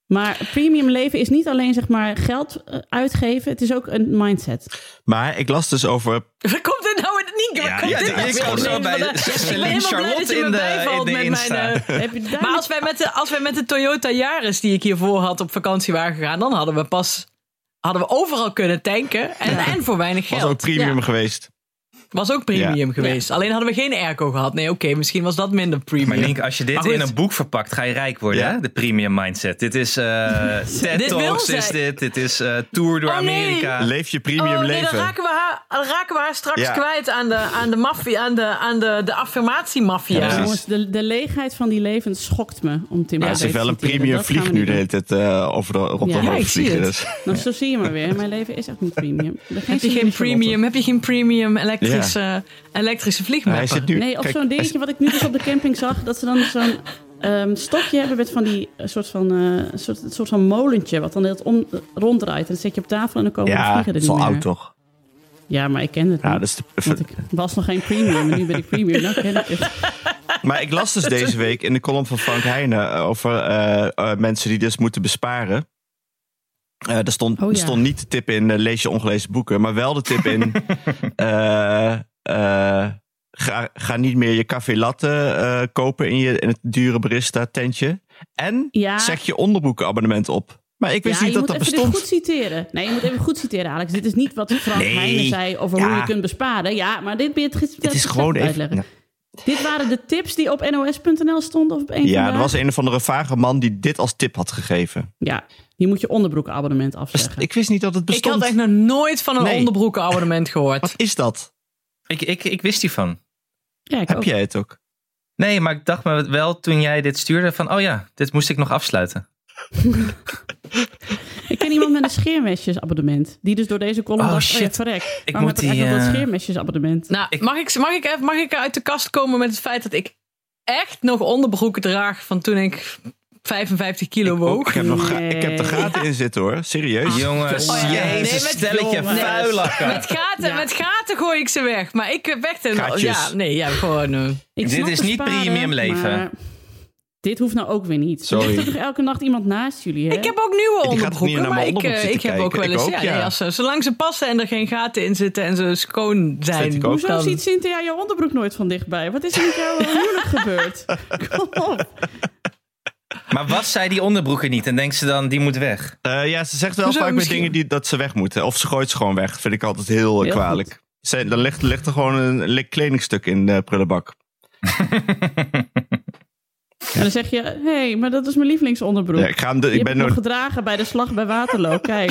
A: Maar premium leven is niet alleen zeg maar geld eh, uitgeven. Het is ook een mindset.
D: Maar ik las dus over
B: waar komt dit nou in? Nienke, waar
D: Ja,
B: komt
D: ja,
B: dit
D: die-
B: nou
D: ik
B: weer
D: kom zo
B: vandaan?
C: bij
B: Ik ben
C: Celine
B: helemaal blij
C: Charlotte
B: dat je
C: in
B: me
C: de-
B: bijvalt
C: in de
B: met
C: Insta.
B: mijn, eh,
A: Heb je daar
B: Maar
A: niet-
B: als wij, met de, als wij met de Toyota Yaris die ik hiervoor had op vakantie waren gegaan, dan hadden we pas hadden we overal kunnen tanken en, en voor weinig
D: was
B: geld.
D: ook premium
A: Ja.
D: geweest.
B: Was ook premium geweest. Alleen hadden we geen airco gehad. Nee, oké, misschien was dat minder premium.
C: Maar Nienke, als je dit
B: Maar goed.
C: in een boek verpakt, ga je rijk worden.
D: Ja.
C: Hè? De premium mindset. Dit
B: (laughs)
C: is eh TED
B: Dit wil
C: Talks,
B: zij.
C: is dit. Dit is eh, Tour door
B: Oh, nee.
C: Amerika.
D: Leef je
B: Oh
D: premium
B: nee,
D: leven. Nou,
B: dan raken we haar, dan raken we haar straks
D: Ja.
B: kwijt aan de, aan de maffia, aan de, aan de, de affirmatiemaffia.
D: Ja, precies.
A: Jongens, de, de leegheid van die levens schokt me om Tim
D: Ja,
A: Berners
D: ze heeft wel een
A: te citeren.
D: premium
A: Dat gaan we
D: vlieg nu
A: niet
D: de
A: doen.
D: hele tijd eh, over de, rond de
A: Ja,
D: hoofd
B: ik zie
D: vliegen.
B: het.
D: Dus.
A: Nou, zo zie je maar weer. Mijn leven is echt niet
D: (laughs)
A: premium. Daar
B: Heb je geen premium, heb je geen premium elektrische, elektrische
D: Hij
B: vliegmapper?
D: zit nu,
A: Nee, of
D: kijk,
A: zo'n
D: hij
A: dingetje wat ik nu dus op de camping zag. Dat ze dan zo'n ehm, stokje hebben met van die eh, soort van, eh, soort, soort van molentje. Wat dan heel om, ronddraait. En dat zet je op tafel en dan
D: zit-
A: komen de
D: Ja,
A: vliegen
D: dat
A: er
D: is
A: niet
D: al
A: meer.
D: oud toch?
A: Ja, maar ik ken het
D: Ja,
A: niet.
D: dat is de-
A: Want ik was nog geen premium en nu ben ik premium. Nou ken
D: (laughs)
A: ik het.
D: Maar ik las dus deze week in de column van Frank Heijnen over eh, eh, mensen die dus moeten besparen. Eh, er, stond,
A: Oh,
D: er
A: ja.
D: stond niet de tip in eh, lees je ongelezen boeken, maar wel de tip
A: (laughs)
D: in eh, eh, ga, ga niet meer je café latte eh, kopen in, je, in het dure barista tentje. En
A: Ja.
D: zeg je onderbroekenabonnement op. Maar ik wist
A: ja,
D: niet
A: je
D: dat
A: moet
D: dat
A: even
D: bestond.
A: dit goed citeren. Nee, je moet even goed citeren, Alex. Dit is niet wat Frank
D: Nee.
A: Heijnen zei over hoe
D: Ja.
A: je kunt besparen. Ja, maar dit ben je het gisteren
D: Het is gewoon even.
A: uitleggen. Dit waren de tips die op nos.nl stonden of op één
D: Ja,
A: vandaag.
D: er was een of andere vage man die dit als tip had gegeven.
A: Ja, je moet je onderbroekabonnement
D: Dus
A: afzeggen.
D: ik wist niet dat het
B: Ik had
D: bestond.
B: echt nog nooit van een
D: Nee. (laughs)
B: onderbroekenabonnement
D: Wat
B: gehoord.
D: is dat?
C: Ik, ik, ik wist hiervan.
A: Ja, ik
D: Heb
A: ook.
D: jij het ook?
C: Nee, maar ik dacht me wel toen jij dit stuurde van... oh ja, dit moest ik nog afsluiten.
A: Ik ken iemand met een scheermesjesabonnement. Die dus door deze column
C: Oh,
A: dacht, oh ja,
C: shit.
A: verrek.
C: Ik
A: waarom
C: moet
A: heb ik
C: die,
A: eigenlijk
C: eh,
A: dat scheermesjesabonnement?
B: Nou,
C: Ik-
B: mag, ik, mag, ik, even- mag ik uit de kast komen met het feit dat ik echt nog onderbroeken draag van toen ik 55 kilo
D: Ook,
B: woog?
D: ik, heb nog ga- ik heb er
A: Nee.
D: gaten in zitten hoor, serieus.
C: Jongens,
B: Oh, ja. Nee,
C: jezus,
B: met-
C: stelletje
A: jongens.
C: vuilakken.
B: Met gaten,
A: Ja.
B: met gaten gooi ik ze weg. Maar ik heb echt een.
D: Gaatjes.
B: Ja, nee, ja, gewoon. eh,
A: Ik
C: Dit
A: snap
C: is
A: het
C: niet
A: sparen,
C: premium leven.
A: maar Dit hoeft nou ook weer niet.
D: Sorry.
A: Er ligt toch elke nacht iemand naast jullie, hè?
B: Ik heb ook nieuwe
D: gaat niet
B: onderbroeken,
D: naar mijn
B: maar ik,
D: onderbroek
B: eh,
D: zitten
B: ik heb ook
D: kijken.
B: wel
D: Ik
B: eens.
D: ook,
B: ja,
D: ja.
B: Nee, als ze, zolang ze passen en er geen gaten in zitten en ze schoon zijn.
D: ik ook.
A: Hoezo
B: dan-
A: ziet Cynthia jouw onderbroek nooit van dichtbij? Wat is er met jou
D: (laughs)
A: huwelijk gebeurd? Kom op.
C: Maar was zij die onderbroeken niet? En denkt ze dan, die moet weg?
D: Eh, ja, ze zegt wel
B: Hoezo,
D: vaak met
B: misschien-
D: dingen die, dat ze weg moeten. Of ze gooit ze gewoon weg. Vind ik altijd heel, eh,
A: Heel
D: kwalijk. Ze, dan ligt, ligt er gewoon een lik kledingstuk in de prullenbak.
A: En dan zeg je, hé, hey, maar dat is mijn lievelingsonderbroek.
D: Ja, ik ga hem de,
A: Die
D: ik
A: heb
D: ben
A: ik nog
D: nooit-
A: gedragen bij de slag bij
D: (laughs)
A: Waterloo. Kijk,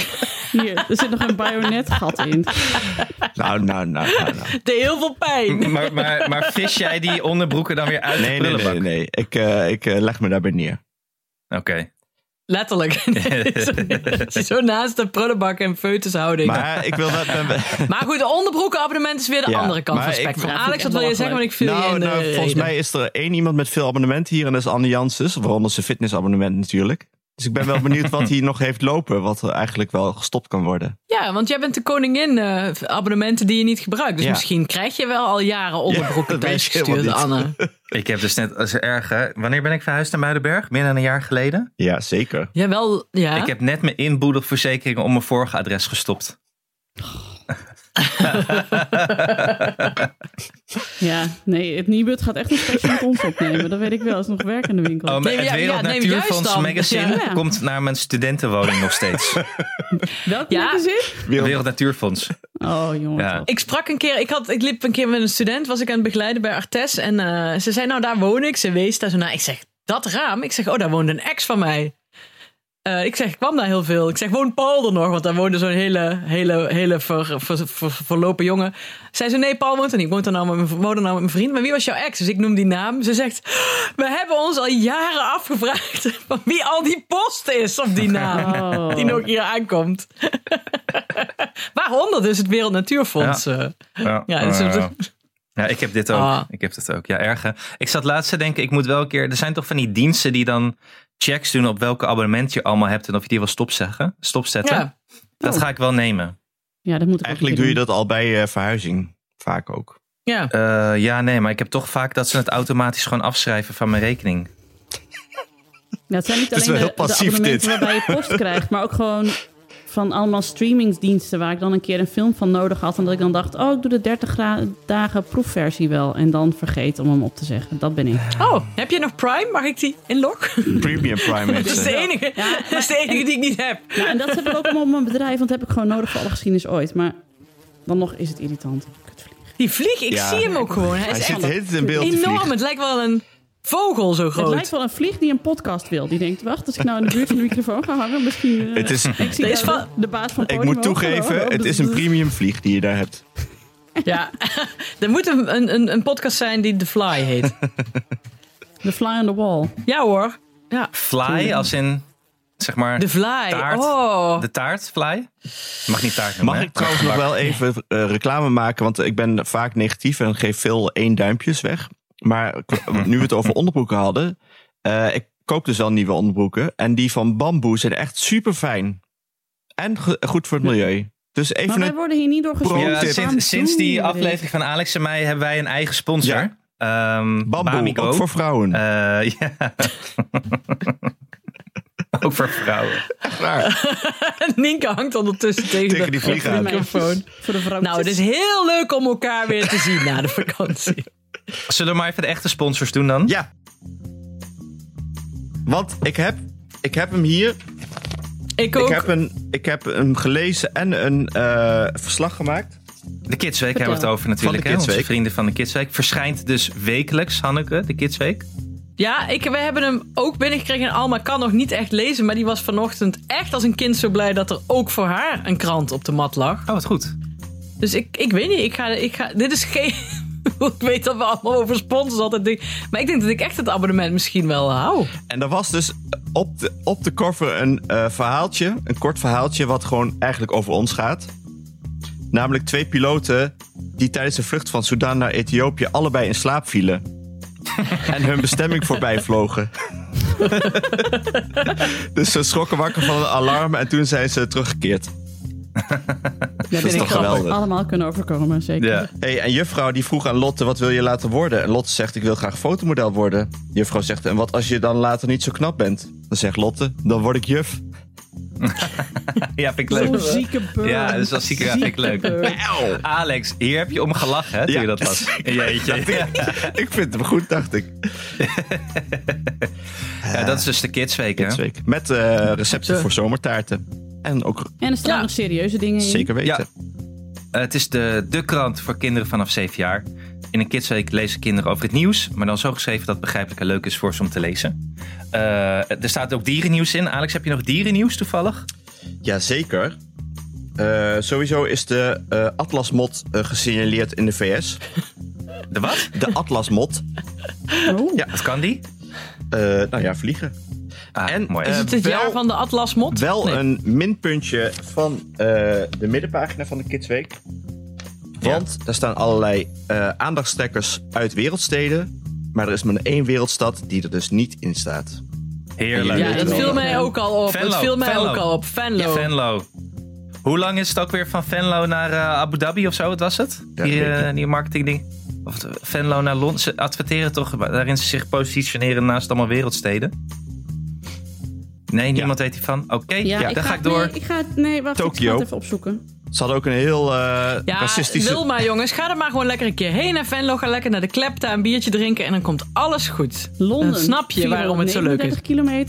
A: hier, er zit nog een bajonetgat in.
D: nou, nou, nou, nou, nou.
B: deed heel veel pijn.
D: (laughs)
C: Maar, maar, maar vis jij die onderbroeken dan weer uit de
D: Nee, nee,
C: prullenbak?
D: nee, nee. Ik, eh, ik eh, leg me daarbij neer.
C: Oké.
D: (laughs)
B: Letterlijk. (laughs) Nee, zo- zo naast de prullenbak en feutushouding. Maar,
D: Maar ik wil dat...
B: goed, de onderbroekenabonnement is weer de
D: Ja,
B: andere kant
D: maar
B: van het
D: ik-
B: spectrum.
A: Ja, vind
B: Alex,
A: ik echt
B: wat wil je zeggen? Want ik
A: belachelijk.
B: viel je
D: (laughs) nou,
B: in de
D: nou, volgens
B: reden.
D: mij is er één iemand met veel abonnementen hier en dat is Anne Janssens. Waaronder zijn fitnessabonnement natuurlijk. Dus ik ben wel benieuwd wat hij nog heeft lopen. Wat er eigenlijk wel gestopt kan worden.
B: Ja, want jij bent de koningin eh, abonnementen die je niet gebruikt. Dus
D: Ja.
B: misschien krijg je wel al jaren
D: Ja,
B: onderbroeken
D: dat weet je
B: thuisgestuurd,
D: helemaal niet. (laughs)
B: Anne.
C: Ik heb dus net als erg... hè, Wanneer ben ik verhuisd naar Muidenberg? Meer dan een jaar geleden.
D: Ja, zeker.
B: Ja, wel, ja.
C: Ik heb net mijn inboedelverzekering om mijn vorige adres gestopt.
A: Ja, nee, het Nibud gaat echt een special met ons opnemen. Dat weet ik wel, is nog werk in de winkel.
C: Oh,
B: Nee,
C: het
B: ja, ja,
C: Wereld
B: nee,
C: Natuurfonds
B: juist dan.
C: magazine
A: Ja.
C: komt naar mijn studentenwoning nog
B: (laughs)
C: steeds.
A: Welk
B: Ja.
A: magazine?
C: Wereld Natuurfonds.
A: Oh, jongen.
C: Ja.
A: toch.
B: Ik sprak een keer, ik, had, ik liep een keer met een student, was ik aan het begeleiden bij Artes. En eh, ze zei, nou daar woon ik. Ze wees daar zo naar. Ik zeg, dat raam? Ik zeg, oh daar woont een ex van mij. Eh, ik zeg, ik kwam daar heel veel. Ik zeg, woont Paul er nog? Want daar woonde zo'n hele, hele, hele ver, ver- ver- verlopen jongen. Zij zei, nee, Paul woont er niet. Ik woon er nou met mijn, woon er nou met mijn vriend. Maar wie was jouw ex? Dus ik noem die naam. Ze zegt, we hebben ons al jaren afgevraagd (laughs) van wie al die post is op die naam.
A: (laughs)
D: (laughs)
A: Oh.
B: Die nog hier aankomt. (laughs) Waaronder dus het Wereld Natuurfonds. eh.
C: Ja,
D: Oh,
B: Ja, dus-
C: eh, ja, ik heb dit ook.
B: Ah.
C: Ik heb dit ook. Ja, erg. hè. Ik zat laatst te denken, ik moet wel een keer... Er zijn toch van die diensten die dan checks doen op welke abonnement je allemaal hebt en of je die wil stopzeggen, stopzetten.
B: ja.
C: Dat
A: Oh.
C: ga ik wel nemen.
A: Ja, dat moet ik ook
D: Eigenlijk
A: een
D: doe je
A: keer
D: dat al bij eh, verhuizing. Vaak ook.
B: ja.
C: Eh, ja, nee, maar ik heb toch vaak dat ze het automatisch gewoon afschrijven van mijn rekening.
A: doen. Ja, het zijn niet
D: Het is
A: alleen
D: wel
A: de,
D: heel
A: de
D: passief,
A: abonnementen
D: dit.
A: waarbij je
D: (laughs)
A: post krijgt, maar ook gewoon van allemaal streamingsdiensten waar ik dan een keer een film van nodig had. En dat ik dan dacht, oh, ik doe de 30 gra- dagen proefversie wel. En dan vergeet om hem op te zeggen. Dat ben ik.
B: Oh, heb je nog Prime? Mag ik die inloggen?
D: Premium
B: (laughs)
D: Prime eh,
B: Dat is
D: mensen.
B: de enige, dat is de enige die ik niet heb.
A: Ja, Nou, en dat heb ik ook allemaal op mijn bedrijf, want dat heb ik gewoon nodig voor alle geschiedenis ooit. Maar dan nog is het irritant. Kutvlieg.
B: Die vlieg, ik
D: Ja.
B: zie hem ook gewoon. Hij
D: Hij
B: is
D: zit
B: echt
D: de hele tijd in beeld te
B: enorm.
D: vliegen.
B: Het lijkt wel een vogel zo
A: Het
B: groot.
A: lijkt wel een vlieg die een podcast wil. Die denkt, wacht, als ik nou in de buurt van de microfoon ga hangen, misschien... eh,
D: Het is,
A: ik zie
B: Er is
A: daar
B: van-
A: de, de baas van
D: ik
A: Podimo.
D: moet toegeven,
A: Hallo,
D: het is een premium vlieg die je daar hebt.
B: Ja, (laughs) er moet een, een- een, een podcast zijn die The Fly
D: (laughs)
B: heet.
A: The fly on the wall.
B: Ja hoor. Ja.
C: Fly, als in, zeg maar,
B: The Fly.
C: Taart.
B: Oh.
C: de taart, fly. Mag niet taart noemen,
D: Mag
C: hè?
D: ik trouwens nog wel even eh, reclame maken? Want ik ben vaak negatief en geef veel één duimpjes weg. Maar
C: (laughs)
D: k- nu we het over onderbroeken hadden. eh, ik koop dus al nieuwe onderbroeken. En die van bamboe zijn echt super fijn. En ge- goed voor het milieu. Dus
A: Maar
D: even
A: wij
D: een.
A: worden hier niet door gesponsord.
C: Ja,
D: Pro tip.
A: Waarom
C: sinds, sinds
A: doen
C: die
A: jullie dit?
C: aflevering van Alex en mij hebben wij een eigen sponsor.
D: Ja.
C: Ehm,
D: Bamboe,
C: Bamigo.
D: ook voor vrouwen.
C: Eh, (laughs) ja.
D: (laughs)
C: ook voor vrouwen.
D: Klaar.
B: (laughs) Nienke hangt ondertussen tegen,
D: Tegen
B: de-
D: die vlieg aan.
A: Voor de
B: microfoon.
A: meisjes, Voor de vrouwen.
B: Nou, het is heel leuk om elkaar weer te zien na de vakantie.
C: Zullen we maar even de echte sponsors doen dan?
D: Ja. Want ik heb, ik heb hem hier.
B: Ik
D: Ik
B: ook.
D: heb, een, ik heb hem gelezen en een eh, verslag gemaakt.
C: De Kidsweek hebben we het over natuurlijk.
D: Van de
C: hè? Onze
D: Kidsweek.
C: vrienden van de Kidsweek. Verschijnt dus wekelijks, Hanneke, de Kidsweek.
B: Ja, ik, we hebben hem ook binnengekregen. En Alma kan nog niet echt lezen, maar die was vanochtend echt als een kind zo blij dat er ook voor haar een krant op de mat lag.
C: Oh, wat goed.
B: Dus ik, ik weet niet, ik ga, ik ga, dit is geen... (laughs) ik weet dat we allemaal over sponsors altijd denken. Maar ik denk dat ik echt het abonnement misschien wel hou.
D: En er was dus op de, op de cover een eh, verhaaltje, een kort verhaaltje, wat gewoon eigenlijk over ons gaat. Namelijk twee piloten die tijdens de vlucht van Sudan naar Ethiopië allebei in slaap vielen. en hun bestemming voorbij vlogen. (laughs) dus ze schrokken wakker van een alarm en toen zijn ze teruggekeerd.
A: Ja,
D: is
A: dit
D: toch
A: kan
D: geweldig?
A: allemaal kunnen overkomen, zeker.
C: Ja.
D: Hey, en juffrouw die vroeg aan Lotte, wat wil je laten worden? En Lotte zegt, ik wil graag fotomodel worden. Juffrouw zegt, en wat als je dan later niet zo knap bent? Dan zegt Lotte, dan word ik juf.
C: Ja, vind ik
A: Zo'n
C: leuk.
A: zieke burn.
C: Ja, dus dat zieke- ja, vind ik leuk.
A: burn.
C: Alex, hier heb je om gelachen, hè, toen
D: Ja.
C: je dat was. Jeetje.
D: (laughs) ik vind hem goed, dacht ik.
C: Ja, dat is dus de Kidsweek, hè?
D: Dit week. Met eh, recepten
B: Zo.
D: voor zomertaarten. En ook
A: En er staan
B: Ja.
A: nog serieuze dingen in.
D: zeker weten.
C: Eh, het is de, de krant voor kinderen vanaf 7 jaar. In een kidsweek lezen kinderen over het nieuws, maar dan zo geschreven dat het begrijpelijk en leuk is voor ze om te lezen. Eh, er staat ook dierennieuws in. Alex, heb je nog dierennieuws toevallig?
D: Jazeker. Eh, sowieso is de eh, atlasmot eh, gesignaleerd in de VS.
C: De wat? (laughs)
D: De atlasmot.
A: Oh.
D: Ja.
C: Wat kan die?
D: Eh, nou ja, vliegen.
C: Ah,
D: En,
C: mooi.
D: eh,
B: Is het het
D: wel-
B: jaar van de Atlas Mot?
D: Wel
B: Nee.
D: een minpuntje van eh, de middenpagina van de Kidsweek. Want daar staan allerlei eh aandachtstekkers uit wereldsteden. Maar er is maar één wereldstad die er dus niet in staat.
C: Heerlijk.
D: Ja,
B: Ja, dat
D: wel.
B: viel mij ook al op.
C: Venlo,
B: dat viel mij
C: Venlo.
B: ook al op. Venlo.
C: Venlo. Hoe lang is het ook weer van Venlo naar eh, Abu Dhabi of zo? Wat was het?
D: Ja,
C: die,
D: ik denk
C: eh, die marketingding. Of de- Venlo naar Londen. Ze adverteren toch waarin ze zich positioneren naast allemaal wereldsteden? Nee, niemand weet hiervan. Oké,
A: Ja,
C: ja,
A: ik
C: dan
A: ga,
C: ga ik door.
A: Nee, ik ga, nee wacht, ik
D: Tokio.
A: ga het even opzoeken.
D: Ze hadden ook een heel eh,
B: Ja,
D: racistische...
B: wil maar jongens. Ga er maar gewoon lekker een keer heen naar Venlo. Ga lekker naar de klepta, een biertje drinken en dan komt alles goed.
A: Londen.
B: Dan snap je waarom het zo leuk is.
A: 439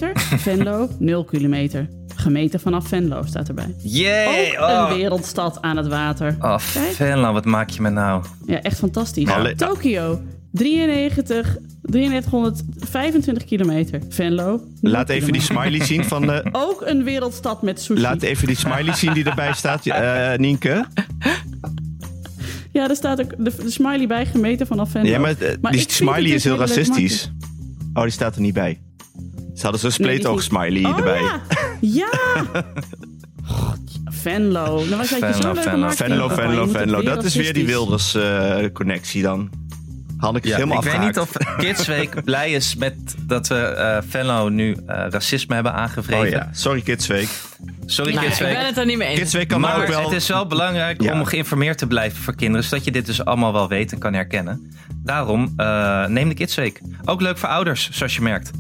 A: kilometer. Venlo, 0 kilometer. Gemeten vanaf Venlo staat erbij.
C: Yay!
A: Ook
C: oh.
A: een wereldstad aan het water.
C: Oh,
A: Kijk.
C: Venlo, wat maak je me nou?
A: Ja, echt fantastisch.
D: Alle-
A: Tokio, 93, 3325 kilometer. Venlo. nul
D: Laat even die
A: kilometer. (laughs)
D: smiley zien van de...
A: Ook een wereldstad met sushi.
D: Laat even die smiley zien die erbij staat, eh, Nienke.
A: Ja, daar staat ook de, de smiley bij gemeten vanaf Venlo.
D: Ja, maar, eh, die
A: ik vind het
D: smiley
A: dus
D: is heel
A: hele leuke
D: racistisch. Oh, die staat er niet bij. Ze hadden
A: Nee, die
D: zo'n
A: is
D: spleetoog
A: niet.
D: smiley
A: Oh,
D: erbij.
A: Ja! ja. God, Venlo. Dan was dat je
C: Venlo,
A: zo'n leuke
C: Venlo,
A: marketing-
D: Venlo,
A: campagne.
D: Venlo,
A: Je moet het
D: Venlo. Dat is weer die
A: racistisch.
D: Wilders-connectie dan. Hanneke is
C: Ja,
D: helemaal
C: ik weet niet
D: afgehaakt.
C: of Kidsweek blij is met dat we eh Venlo nu eh, racisme hebben aangevreven.
D: Oh ja, sorry Kidsweek.
C: Sorry
B: Nou, ik
C: Kidsweek.
B: ben het er niet mee eens.
D: Kidsweek kan maar
C: maar
D: ook wel...
C: het is wel belangrijk
D: Ja.
C: om geïnformeerd te blijven voor kinderen. Zodat je dit dus allemaal wel weet en kan herkennen. Daarom eh, neem de Kids Week. Ook leuk voor ouders, zoals je merkt.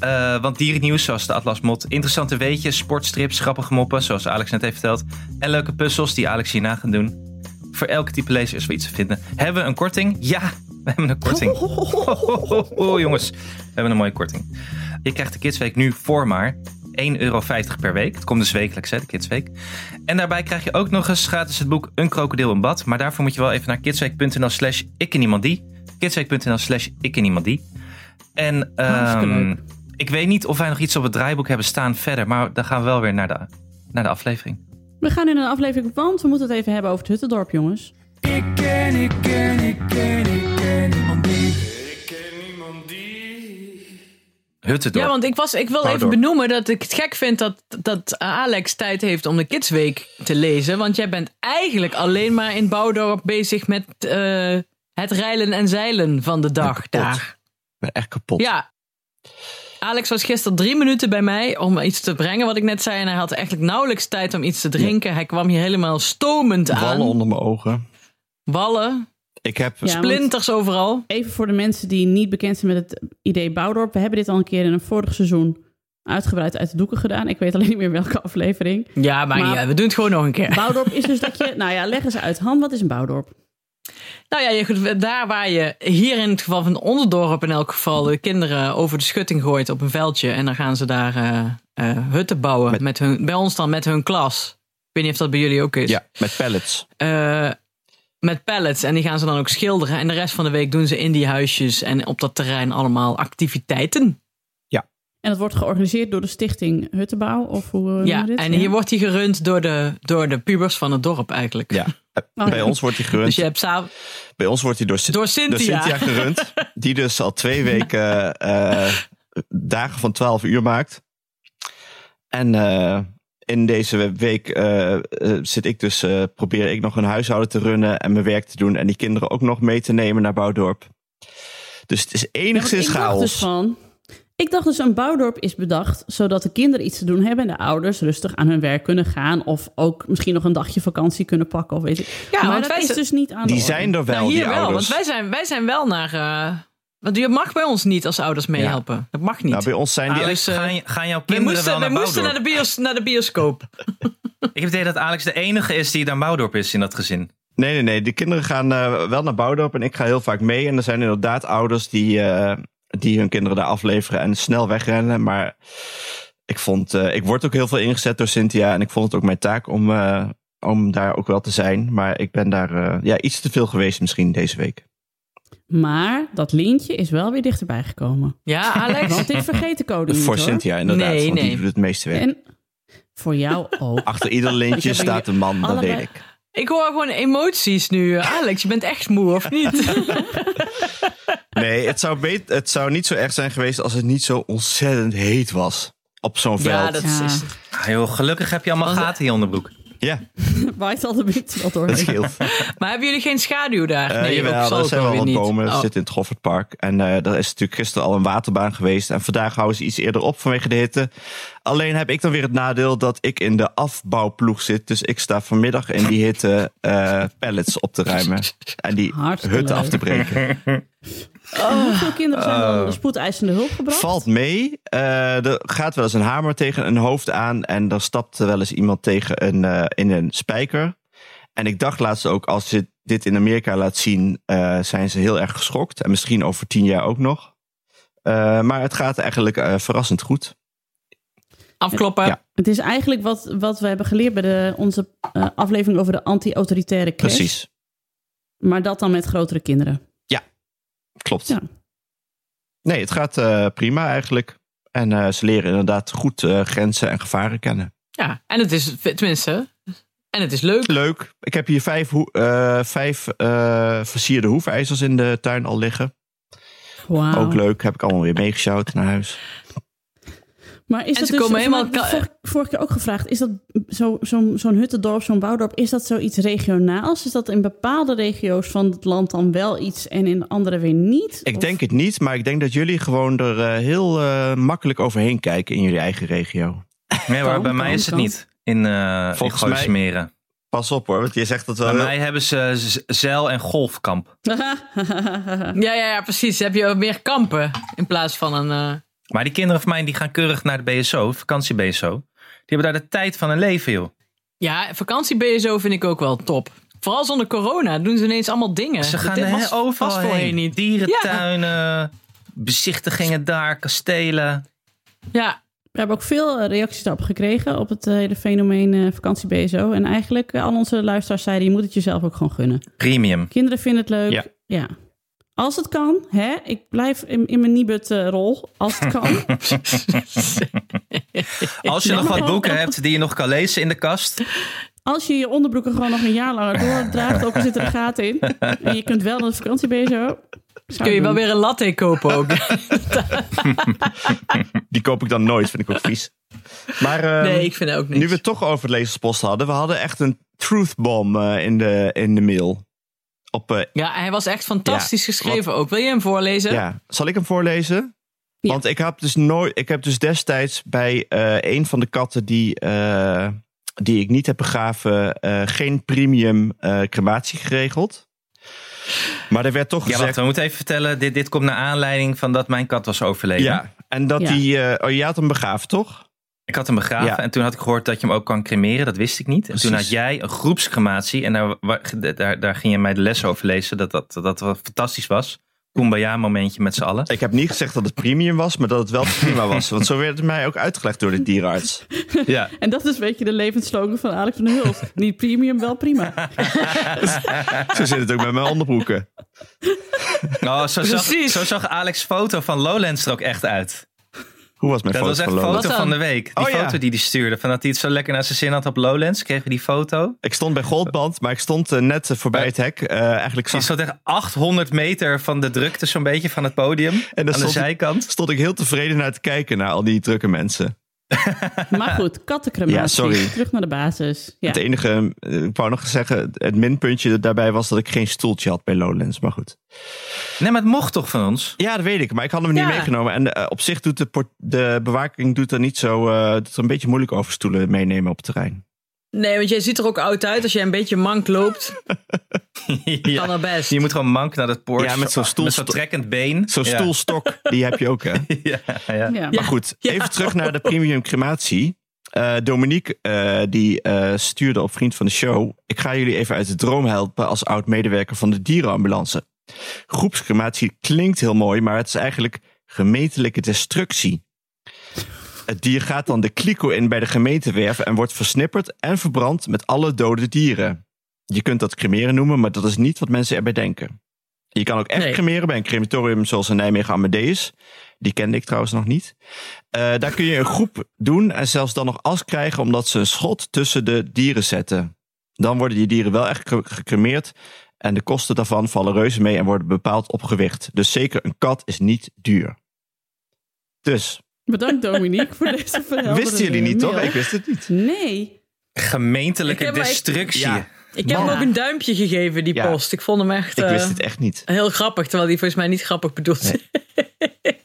C: Eh, want dierennieuws zoals de Atlas Mot, interessante weetjes, sportstrips, grappige moppen zoals Alex net heeft verteld. En leuke puzzels die Alex hierna gaat doen. Voor elke type lezer is wel iets te vinden. Hebben we een korting? Ja, we hebben een
D: (laughs)
C: korting. Oh, jongens, we hebben een mooie korting. Je krijgt de Kidsweek nu voor maar 1,50 euro per week. Het komt dus wekelijks, hè, de Kidsweek. En daarbij krijg je ook nog eens gratis het boek Een krokodil in bad. Maar daarvoor moet je wel even naar kidsweek.nl slash ik ken iemand die. Kidsweek.nl slash ik ken iemand die. En
B: Hartstikke
C: ehm,
B: leuk.
C: ik weet niet of wij nog iets op het draaiboek hebben staan verder. Maar dan gaan we wel weer naar de, naar de aflevering.
A: We gaan in een aflevering, want we moeten het even hebben over het Huttendorp, jongens.
E: Ik ken, ik ken, ik ken, ik ken niemand die.
C: Huttendorp.
B: Ja, want ik, was, ik wil
C: Hou
B: even
C: door.
B: benoemen dat ik het gek vind dat, dat Alex tijd heeft om de Kidsweek te lezen. Want jij bent eigenlijk alleen maar in Bouwdorp bezig met eh, het rijlen en zeilen van de dag
D: kapot.
B: daar.
D: Ik ben echt kapot.
B: Ja. Alex was gisteren drie minuten bij mij om iets te brengen wat ik net zei. En hij had eigenlijk nauwelijks tijd om iets te drinken. Hij kwam hier helemaal stomend aan.
D: Wallen
B: Wallen,
D: onder mijn ogen. Ik heb...
A: Ja. want-
B: splinters overal.
A: Even voor de mensen die niet bekend zijn met het idee Bouwdorp. We hebben dit al een keer in een vorig seizoen uitgebreid uit de doeken gedaan. Ik weet alleen niet meer welke aflevering.
B: Ja, maar,
A: Maar-
B: ja, we doen het gewoon nog een keer.
A: Bouwdorp is dus dat je... (laughs) Nou ja, leg eens uit. Han, wat is een bouwdorp?
B: Nou ja, je, goed, daar waar je hier in het geval van Onderdorp in elk geval de kinderen over de schutting gooit op een veldje. En dan gaan ze daar eh, eh, hutten bouwen. Met... hun, bij ons dan met hun klas. Ik weet niet of dat bij jullie ook is.
D: Ja, met pallets.
B: Eh, met pallets. En die gaan ze dan ook schilderen. En de rest van de week doen ze in die huisjes en op dat terrein allemaal activiteiten.
A: En dat wordt georganiseerd door de stichting Huttenbouw? Of hoe eh,
B: Ja,
A: noemen we dit?
B: en hier wordt die gerund door de, door de pubers van het dorp eigenlijk.
D: Ja.
A: Oh,
D: Bij
A: ja.
D: ons wordt die
B: Dus
D: gerund.
B: je hebt s'avonds...
D: Bij ons wordt die door, Sin-
B: Door Cynthia.
D: door Cynthia gerund. Die dus al twee weken eh, dagen van 12 uur maakt. En eh, in deze week eh, eh, zit ik dus, eh, probeer ik nog een huishouden te runnen en mijn werk te doen. En die kinderen ook nog mee te nemen naar Bouwdorp. Dus het is
A: Ja, want
D: enigszins
A: ik dacht
D: chaos.
A: dus van... Ik dacht dus een bouwdorp is bedacht zodat de kinderen iets te doen hebben en de ouders rustig aan hun werk kunnen gaan. Of ook misschien nog een dagje vakantie kunnen pakken of weet ik.
B: Ja,
A: maar
B: want
A: dat
B: wij
A: is
B: zijn-
A: dus niet aan de
D: Die
A: orde.
D: zijn er wel,
B: Nou, hier
D: die
B: wel, want
D: ouders.
B: wij zijn, wij zijn wel naar... eh, want je mag bij ons niet als ouders meehelpen. Dat mag niet.
D: Nou, bij ons zijn die...
B: Ah,
C: Alex,
B: dus, eh,
C: gaan, gaan jouw
B: we
C: kinderen wel
B: moesten, we
C: naar
B: moesten naar,
C: Bouwdorp?
B: de bios, naar de bioscoop.
C: Ik heb het idee dat Alex de enige is die naar Bouwdorp is in dat gezin.
D: Nee, nee, nee. De kinderen gaan eh, wel naar Bouwdorp en ik ga heel vaak mee. En er zijn inderdaad ouders die, eh, die hun kinderen daar afleveren en snel wegrennen. Maar ik, vond, eh, ik word ook heel veel ingezet door Cynthia. En ik vond het ook mijn taak om, eh, om daar ook wel te zijn. Maar ik ben daar eh, ja, iets te veel geweest misschien deze week.
A: Maar dat lintje is wel weer dichterbij gekomen.
B: Ja, Alex?
A: Want ik vergeet de code niet
D: Voor
A: hoor.
D: Cynthia inderdaad,
B: Nee,
D: want
B: nee.
D: die doet het meeste werk.
A: En voor jou
D: (laughs)
A: ook.
D: Achter ieder
B: (laughs)
D: lintje
A: Ik heb
D: staat een man, dat
A: allebei-
D: weet ik.
B: Ik hoor gewoon emoties nu. Eh, Alex, je bent echt moe, of
D: (laughs)
B: niet?
D: Nee, het zou, bet- het zou niet zo erg zijn geweest als het niet zo ontzettend heet was op zo'n
B: Ja,
D: veld.
B: dat
A: Ja.
B: is...
C: Ah, joh, gelukkig heb je allemaal
B: Want-
C: gaten in je onderbroek.
D: ja,
A: Waait al de wind wel door.
D: dat scheelt.
B: (laughs) Maar hebben jullie geen schaduw daar?
D: Eh,
B: nee,
D: jawel,
B: ook zal
D: er
B: het
D: zijn
B: wel
D: wel
B: weer
D: wat
B: niet.
D: bomen.
B: Oh.
D: Het zit in het Goffertpark. En eh daar is natuurlijk gisteren al een waterbaan geweest. En vandaag houden ze iets eerder op vanwege de hitte. Alleen heb ik dan weer het nadeel dat ik in de afbouwploeg zit. Dus ik sta vanmiddag in die hitte eh pallets op te ruimen.
B: (laughs)
D: En die
A: Hartstikke
D: hutten
A: leuk.
D: af te breken.
A: Hoeveel kinderen zijn dan de spoedeisende hulp gebracht?
D: Oh. Valt mee. Eh, er gaat wel eens een hamer tegen een hoofd aan. En daar stapt wel eens iemand tegen een, eh, in een spijker. En ik dacht laatst ook, als je dit in Amerika laat zien, eh, zijn ze heel erg geschokt. En misschien over tien jaar ook nog. Eh, maar het gaat eigenlijk eh, verrassend goed.
B: Afkloppen.
D: Ja.
A: Het is eigenlijk wat, wat we hebben geleerd bij de, onze eh, aflevering over de anti-autoritaire crash.
D: Precies.
A: Maar dat dan met grotere kinderen.
D: Klopt.
A: Ja.
D: Nee, het gaat eh, prima eigenlijk. En eh, ze leren inderdaad goed eh, grenzen en gevaren kennen.
B: Ja, en het is, tenminste, en het is leuk.
D: Leuk. Ik heb hier vijf, hoe- eh, vijf eh, versierde hoefijzers in de tuin al liggen.
A: Wauw.
B: Oh.
D: Ook leuk. Heb ik allemaal weer meegesjouwd naar huis.
A: Maar is
B: En
A: dat
B: ze
A: dus,
B: komen
A: ik
B: helemaal
A: heb het
B: ka-
A: vorige, vorige keer ook gevraagd, is dat zo- zo'n zo'n huttendorp, zo'n bouwdorp, is dat zoiets regionaals? Is dat in bepaalde regio's van het land dan wel iets en in andere weer niet?
D: Ik
A: Of-
D: denk het niet, maar ik denk dat jullie gewoon er eh, heel eh, makkelijk overheen kijken in jullie eigen regio.
C: Nee, maar
A: Kan,
C: bij mij
A: kan,
C: is het
A: kan.
C: niet. In, eh in
D: Volgens mij-
C: Gooismeren.
D: Pas op hoor, want je zegt dat wel.
C: Bij mij hebben ze z- zeil- en golfkamp.
B: Ja, ja, ja, precies. Dan Heb je meer kampen in plaats van een... eh,
C: Maar die kinderen van mij die gaan keurig naar de BSO, vakantie-BSO. Die hebben daar de tijd van hun leven, joh.
B: Ja, vakantie BSO vind ik ook wel top. Vooral zonder corona doen ze ineens allemaal dingen.
C: Ze gaan
B: Dit
C: er
B: was-
C: he- overal
B: was voorheen
C: heen.
B: niet.
C: Dierentuinen, bezichtigingen daar, kastelen.
B: Ja,
A: We hebben ook veel eh, reacties daarop gekregen op het eh, hele fenomeen eh, vakantie BSO. En eigenlijk eh, al onze luisteraars zeiden, je moet het jezelf ook gewoon gunnen.
C: Premium.
A: Kinderen vinden het leuk.
D: Ja.
A: Ja. Als het kan, hè? ik blijf in, in mijn Nibud-rol. Als het kan.
D: (laughs)
C: Als je
A: Ja.
C: nog wat boeken hebt die je nog kan lezen in de kast.
A: Als je je onderbroeken gewoon nog een jaar langer doordraagt, ook er zitten er gaten in. En je kunt wel naar de vakantie BSO.
B: kun je wel weer een latte kopen
D: (laughs)
B: ook.
D: Die koop ik dan nooit, vind ik ook
B: (laughs)
D: vies. Maar eh,
B: nee, ik vind het ook niet.
D: nu we het toch over het lezerspost hadden, we hadden echt een truthbomb eh, in, de, in de mail. Op, eh,
B: Ja, hij was echt fantastisch
D: Ja,
B: geschreven ook. Wil je hem voorlezen?
D: Ja, zal ik hem voorlezen?
A: Ja.
D: Want ik heb dus nooit, ik heb dus destijds bij eh, een van de katten die, eh, die ik niet heb begraven, eh, geen premium eh, crematie geregeld. Maar er werd toch
C: Ja, wacht,
D: gezegd.
C: we moeten even vertellen. Dit, dit komt naar aanleiding van dat mijn kat was overleden.
D: Ja, en dat
A: Ja.
D: die. eh, oh, je had hem begraven, toch?
C: Ik had hem begraven
D: Ja.
C: en toen had ik gehoord dat je hem ook kan cremeren. Dat wist ik niet. En toen
D: Precies.
C: had jij een groepscrematie en daar, wa- daar, daar ging je mij de les over lezen. Dat dat, dat wel fantastisch was. Kumbaya momentje met z'n allen.
D: Ik heb niet gezegd dat het premium was, maar dat het wel (laughs) prima was. Want zo werd het mij ook uitgelegd door de dierenarts.
C: Ja.
A: En dat is een beetje de levensslogan van Alex van der Hulst. Niet premium, wel prima.
D: Zo zit het ook met mijn onderbroeken.
C: Oh, zo, zag,
B: Precies.
C: zo zag Alex' foto van Lowlands er ook echt uit.
D: Hoe was mijn
C: Dat
D: foto
C: was echt
D: van
C: een
D: Lola?
C: foto
B: Wat dan?
C: van de week. Die
D: Oh, ja.
C: foto die hij stuurde. Van dat hij het zo lekker naar zijn zin had op Lowlands. Kregen we die foto.
D: Ik stond bij Goldband, maar ik stond eh, net eh, voorbij het hek. Eh, eigenlijk
C: Die
D: zag
C: zat echt 800 meter van de drukte zo'n beetje van het podium.
D: dan
C: aan de
D: stond-
C: zijkant.
D: stond ik heel tevreden naar te kijken naar al die drukke mensen.
A: Maar goed, kattencrematie.
D: Ja, sorry.
A: Terug naar de basis. Ja.
D: Het enige, eh, ik wou nog zeggen, het minpuntje daarbij was dat ik geen stoeltje had bij Lowlands, maar goed.
C: Nee, maar het mocht toch van
D: (laughs)
C: ons?
D: Ja, dat weet ik, maar ik had hem
B: Ja.
D: niet meegenomen. En eh, op zich doet de, port- de bewaking doet er niet zo, eh doet er een beetje moeilijk over stoelen meenemen op het terrein.
B: Nee, want jij ziet er ook oud uit. Als jij een beetje mank loopt,
C: Ja.
B: dan al best.
C: Je moet gewoon mank naar dat poort.
D: Ja, met zo'n stoel-
C: Met zo'n trekkend been.
D: Zo'n
C: Ja.
D: stoelstok, die heb je ook, hè?
C: (laughs)
D: (laughs)
C: Ja, ja.
A: Ja.
D: Maar goed, even terug naar de premium crematie. Eh, Dominique, eh, die eh, stuurde op Vriend van de Show. Ik ga jullie even uit de droom helpen als oud-medewerker van de dierenambulance. Groepscrematie klinkt heel mooi, maar het is eigenlijk gemeentelijke destructie. Het dier gaat dan de kliko in bij de gemeentewerf en wordt versnipperd en verbrand met alle dode dieren. Je kunt dat cremeren noemen, maar dat is niet wat mensen erbij denken. Je kan ook echt
B: Nee.
D: cremeren bij een crematorium zoals in Nijmegen Amadeus. Die kende ik trouwens nog niet. Eh, daar kun je een groep doen en zelfs dan nog as krijgen omdat ze een schot tussen de dieren zetten. Dan worden die dieren wel echt ge- gecremeerd en de kosten daarvan vallen reuze mee en worden bepaald op gewicht. Dus zeker een kat is niet duur. Dus,
A: Bedankt Dominique voor deze verhaal.
D: (laughs) wisten jullie niet toch? Ik wist het niet.
A: Nee.
C: Gemeentelijke
B: Ik heb-
C: destructie.
D: Ja.
B: Ik heb
A: Ja.
B: hem ook een duimpje gegeven, die
D: Ja.
B: post. Ik vond hem echt,
D: Ik
B: eh,
D: wist het echt niet.
B: heel grappig. Terwijl die volgens mij niet grappig bedoeld (laughs)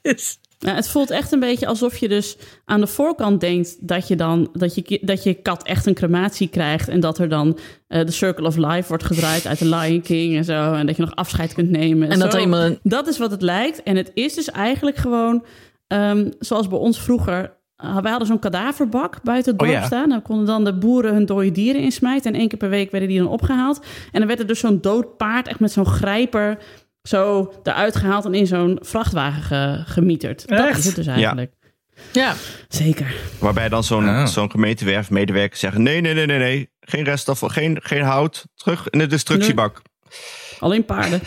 B: is.
A: Nou, het voelt echt een beetje alsof je dus aan de voorkant denkt dat je dan dat je, ki- dat je kat echt een crematie krijgt en dat er dan eh The Circle of Life wordt gedraaid uit The Lion King en zo en dat je nog afscheid kunt nemen.
B: En dat
A: zo.
B: er iemand een-
A: dat is wat het lijkt en het is dus eigenlijk gewoon ehm, zoals bij ons vroeger. eh, wij hadden zo'n kadaverbak buiten het dorp
D: ja.
A: staan. Daar konden dan de boeren hun dode dieren insmijten. En één keer per week werden die dan opgehaald. En dan werd er dus zo'n dood paard, echt met zo'n grijper, zo eruit gehaald en in zo'n vrachtwagen ge- gemieterd. Dat
C: Echt?
A: is het dus eigenlijk.
B: Ja,
A: Zeker.
D: Waarbij dan zo'n
C: Ah.
D: zo'n gemeentewerfmedewerker zeggen: nee, nee, nee, nee, nee. Geen restafval, geen, geen hout. Terug in de destructiebak.
A: Alleen paarden.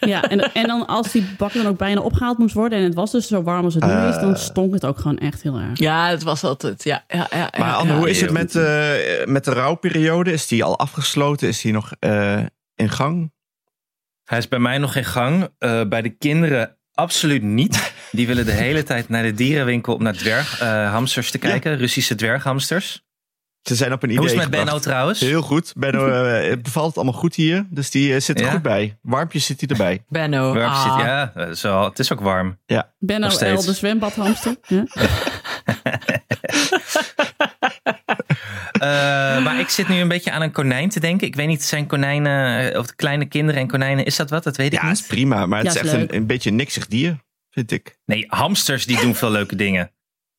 A: Ja, en, en dan als die bak dan ook bijna opgehaald moest worden en het was dus zo warm als het nu is,
C: Eh.
A: dan stonk het ook gewoon echt heel erg.
B: Ja, het was altijd. Ja, ja, ja,
D: Maar
B: ja,
D: Anne,
B: ja.
D: hoe is het met, eh, met de rouwperiode? Is die al afgesloten? Is die nog eh, in gang?
C: Hij is bij mij nog in gang. Eh, bij de kinderen absoluut
D: (laughs)
C: niet. Die willen de hele tijd naar de dierenwinkel om naar dwerghamsters hamsters te kijken. Russische dwerghamsters.
D: Ze zijn op een idee
C: Hoe is het met
D: gebracht.
C: Benno trouwens?
D: Heel goed.
C: (laughs)
D: Benno eh, het bevalt het allemaal goed hier. Dus die eh, zit er
C: Ja?
D: goed bij. Warmpjes zit hij erbij.
B: Benno?
C: Warm
B: ah.
C: zit- ja, eh, zo, het is ook warm.
A: Benno
C: nog
A: L,
C: steeds.
A: de zwembadhamster.
C: (laughs)
A: Ja?
C: Eh,
B: (laughs)
C: maar ik zit nu een beetje aan een konijn te denken. Ik weet niet, zijn konijnen, eh, of kleine kinderen en konijnen, is dat wat? Dat weet ik
D: Ja,
C: niet.
D: is prima. Maar het
A: Ja,
D: is
A: is
D: echt
A: leuk.
D: een, een beetje een niksig dier, vind ik.
C: Nee, hamsters die doen veel leuke dingen.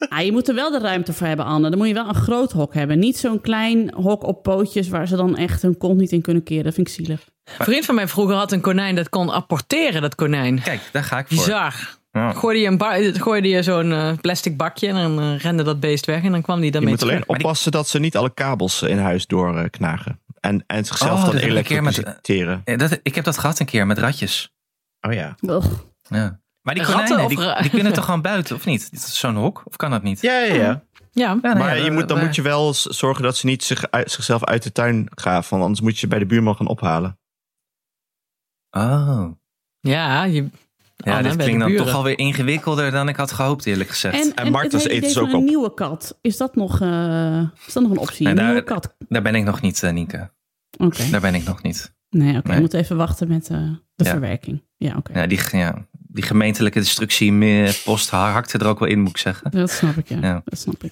A: Ah, je moet er wel de ruimte voor hebben, Anne. Dan moet je wel een groot hok hebben. Niet zo'n klein hok op pootjes waar ze dan echt hun kont niet in kunnen keren. Dat vind ik zielig.
B: Een vriend van mij vroeger had een konijn dat kon apporteren, dat konijn.
C: Kijk, daar ga ik voor.
B: Bizar.
C: Ja.
B: Gooide je, een ba- gooide je zo'n eh, plastic bakje en dan eh, rende dat beest weg en dan kwam die
D: Je
B: daarmee
D: moet
B: terug.
D: alleen oppassen dat ze niet alle kabels eh, in huis doorknagen. En, en zichzelf
C: Oh,
D: dan
C: dat heb ik een keer met-
D: elektriciteren.
C: Eh, Dat, ik heb dat gehad een keer met ratjes.
D: Oh ja.
A: Ugh.
C: Ja. Maar die
B: Ratten
C: konijnen,
B: of eh?
C: die,
B: ra-
C: die
B: (laughs)
C: kunnen toch gewoon buiten, of niet? Dit is zo'n hok, of kan dat niet?
D: Ja, ja, ja.
B: Ja,
C: Ja, nee,
D: Oh, Maar
C: ja,
D: je moet, dan
C: waar-
D: moet je wel z- zorgen dat ze niet zich, uit- zichzelf uit de tuin graven. Want anders moet je bij de buurman gaan ophalen.
C: Oh.
B: ja Oh, je,
C: Ja,
B: Anne, bij
C: dit
B: de
C: klinkt dan
B: buren.
C: toch alweer ingewikkelder dan ik had gehoopt, eerlijk gezegd.
A: En, en
D: Martens
A: het hele
D: eten
A: idee
C: dus
D: ze
A: van
D: ook
A: een
D: op.
A: nieuwe kat. Is dat nog, eh, is dat nog een optie?
C: Nee,
A: een
C: daar-
A: nieuwe kat.
C: Daar ben ik nog niet, eh, Nienke.
A: Oké.
C: Daar ben ik nog niet.
A: Nee, oké.
C: Nee.
A: We moeten even wachten met eh, de
C: Ja.
A: verwerking. Ja, oké.
C: Ja, die, ja, die gemeentelijke destructie eh, post hakte er ook wel in, moet ik zeggen.
A: Dat snap ik, ja.
C: Ja.
A: Dat snap ik.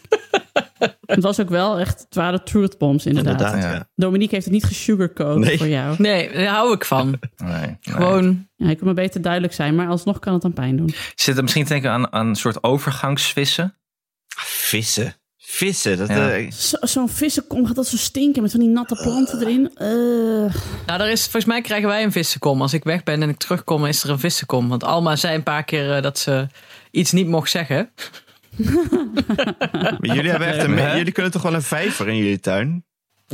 A: het was ook wel echt, het waren truth bombs inderdaad.
C: ja.
A: Dominique heeft het niet gesugarcoat
D: Nee.
A: voor jou.
B: nee, daar hou ik
D: (laughs)
B: van.
C: Nee, nee.
B: Gewoon,
A: Ja, ik kan maar beter duidelijk zijn, maar alsnog kan het dan pijn doen.
C: Zit er misschien te denken aan, aan een soort overgangsvissen?
D: Ah, Vissen. Vissen. Dat,
C: Ja.
D: eh,
A: Zo- Zo'n vissenkom gaat dat zo stinken met van die natte planten erin. Eh.
B: nou, er is, volgens mij krijgen wij een vissenkom. Als ik weg ben en ik terugkom, is er een vissenkom. Want Alma zei een paar keer eh, dat ze iets niet mocht zeggen.
D: maar jullie, hebben echt een,
C: Hè?
D: jullie kunnen toch wel een vijver in jullie tuin?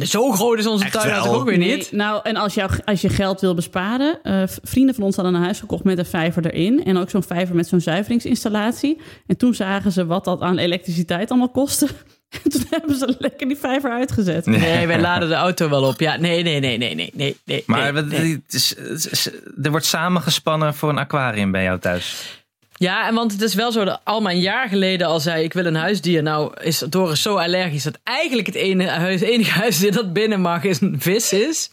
B: Zo groot is onze
D: Echt
B: tuin
D: wel?
B: natuurlijk ook weer
A: Nee,
B: niet.
A: nou, en als, jou, als je geld wil besparen. eh, v- vrienden van ons hadden een huis gekocht met een vijver erin. En ook zo'n vijver met zo'n zuiveringsinstallatie. En toen zagen ze wat dat aan elektriciteit allemaal kostte. (laughs) En toen hebben ze lekker die vijver uitgezet.
B: Nee,
D: (laughs)
B: wij laden de auto wel op. Ja, nee, nee, nee, nee, nee, nee. nee
C: Maar
B: nee,
C: wat-
B: nee.
C: het is- het is- er wordt samengespannen voor een aquarium bij jou thuis.
B: Ja, en want het is wel zo dat Alma een jaar geleden al zei: Ik wil een huisdier. Nou, is Doris zo allergisch dat eigenlijk het ene huis, enige huisdier dat binnen mag is een vis is.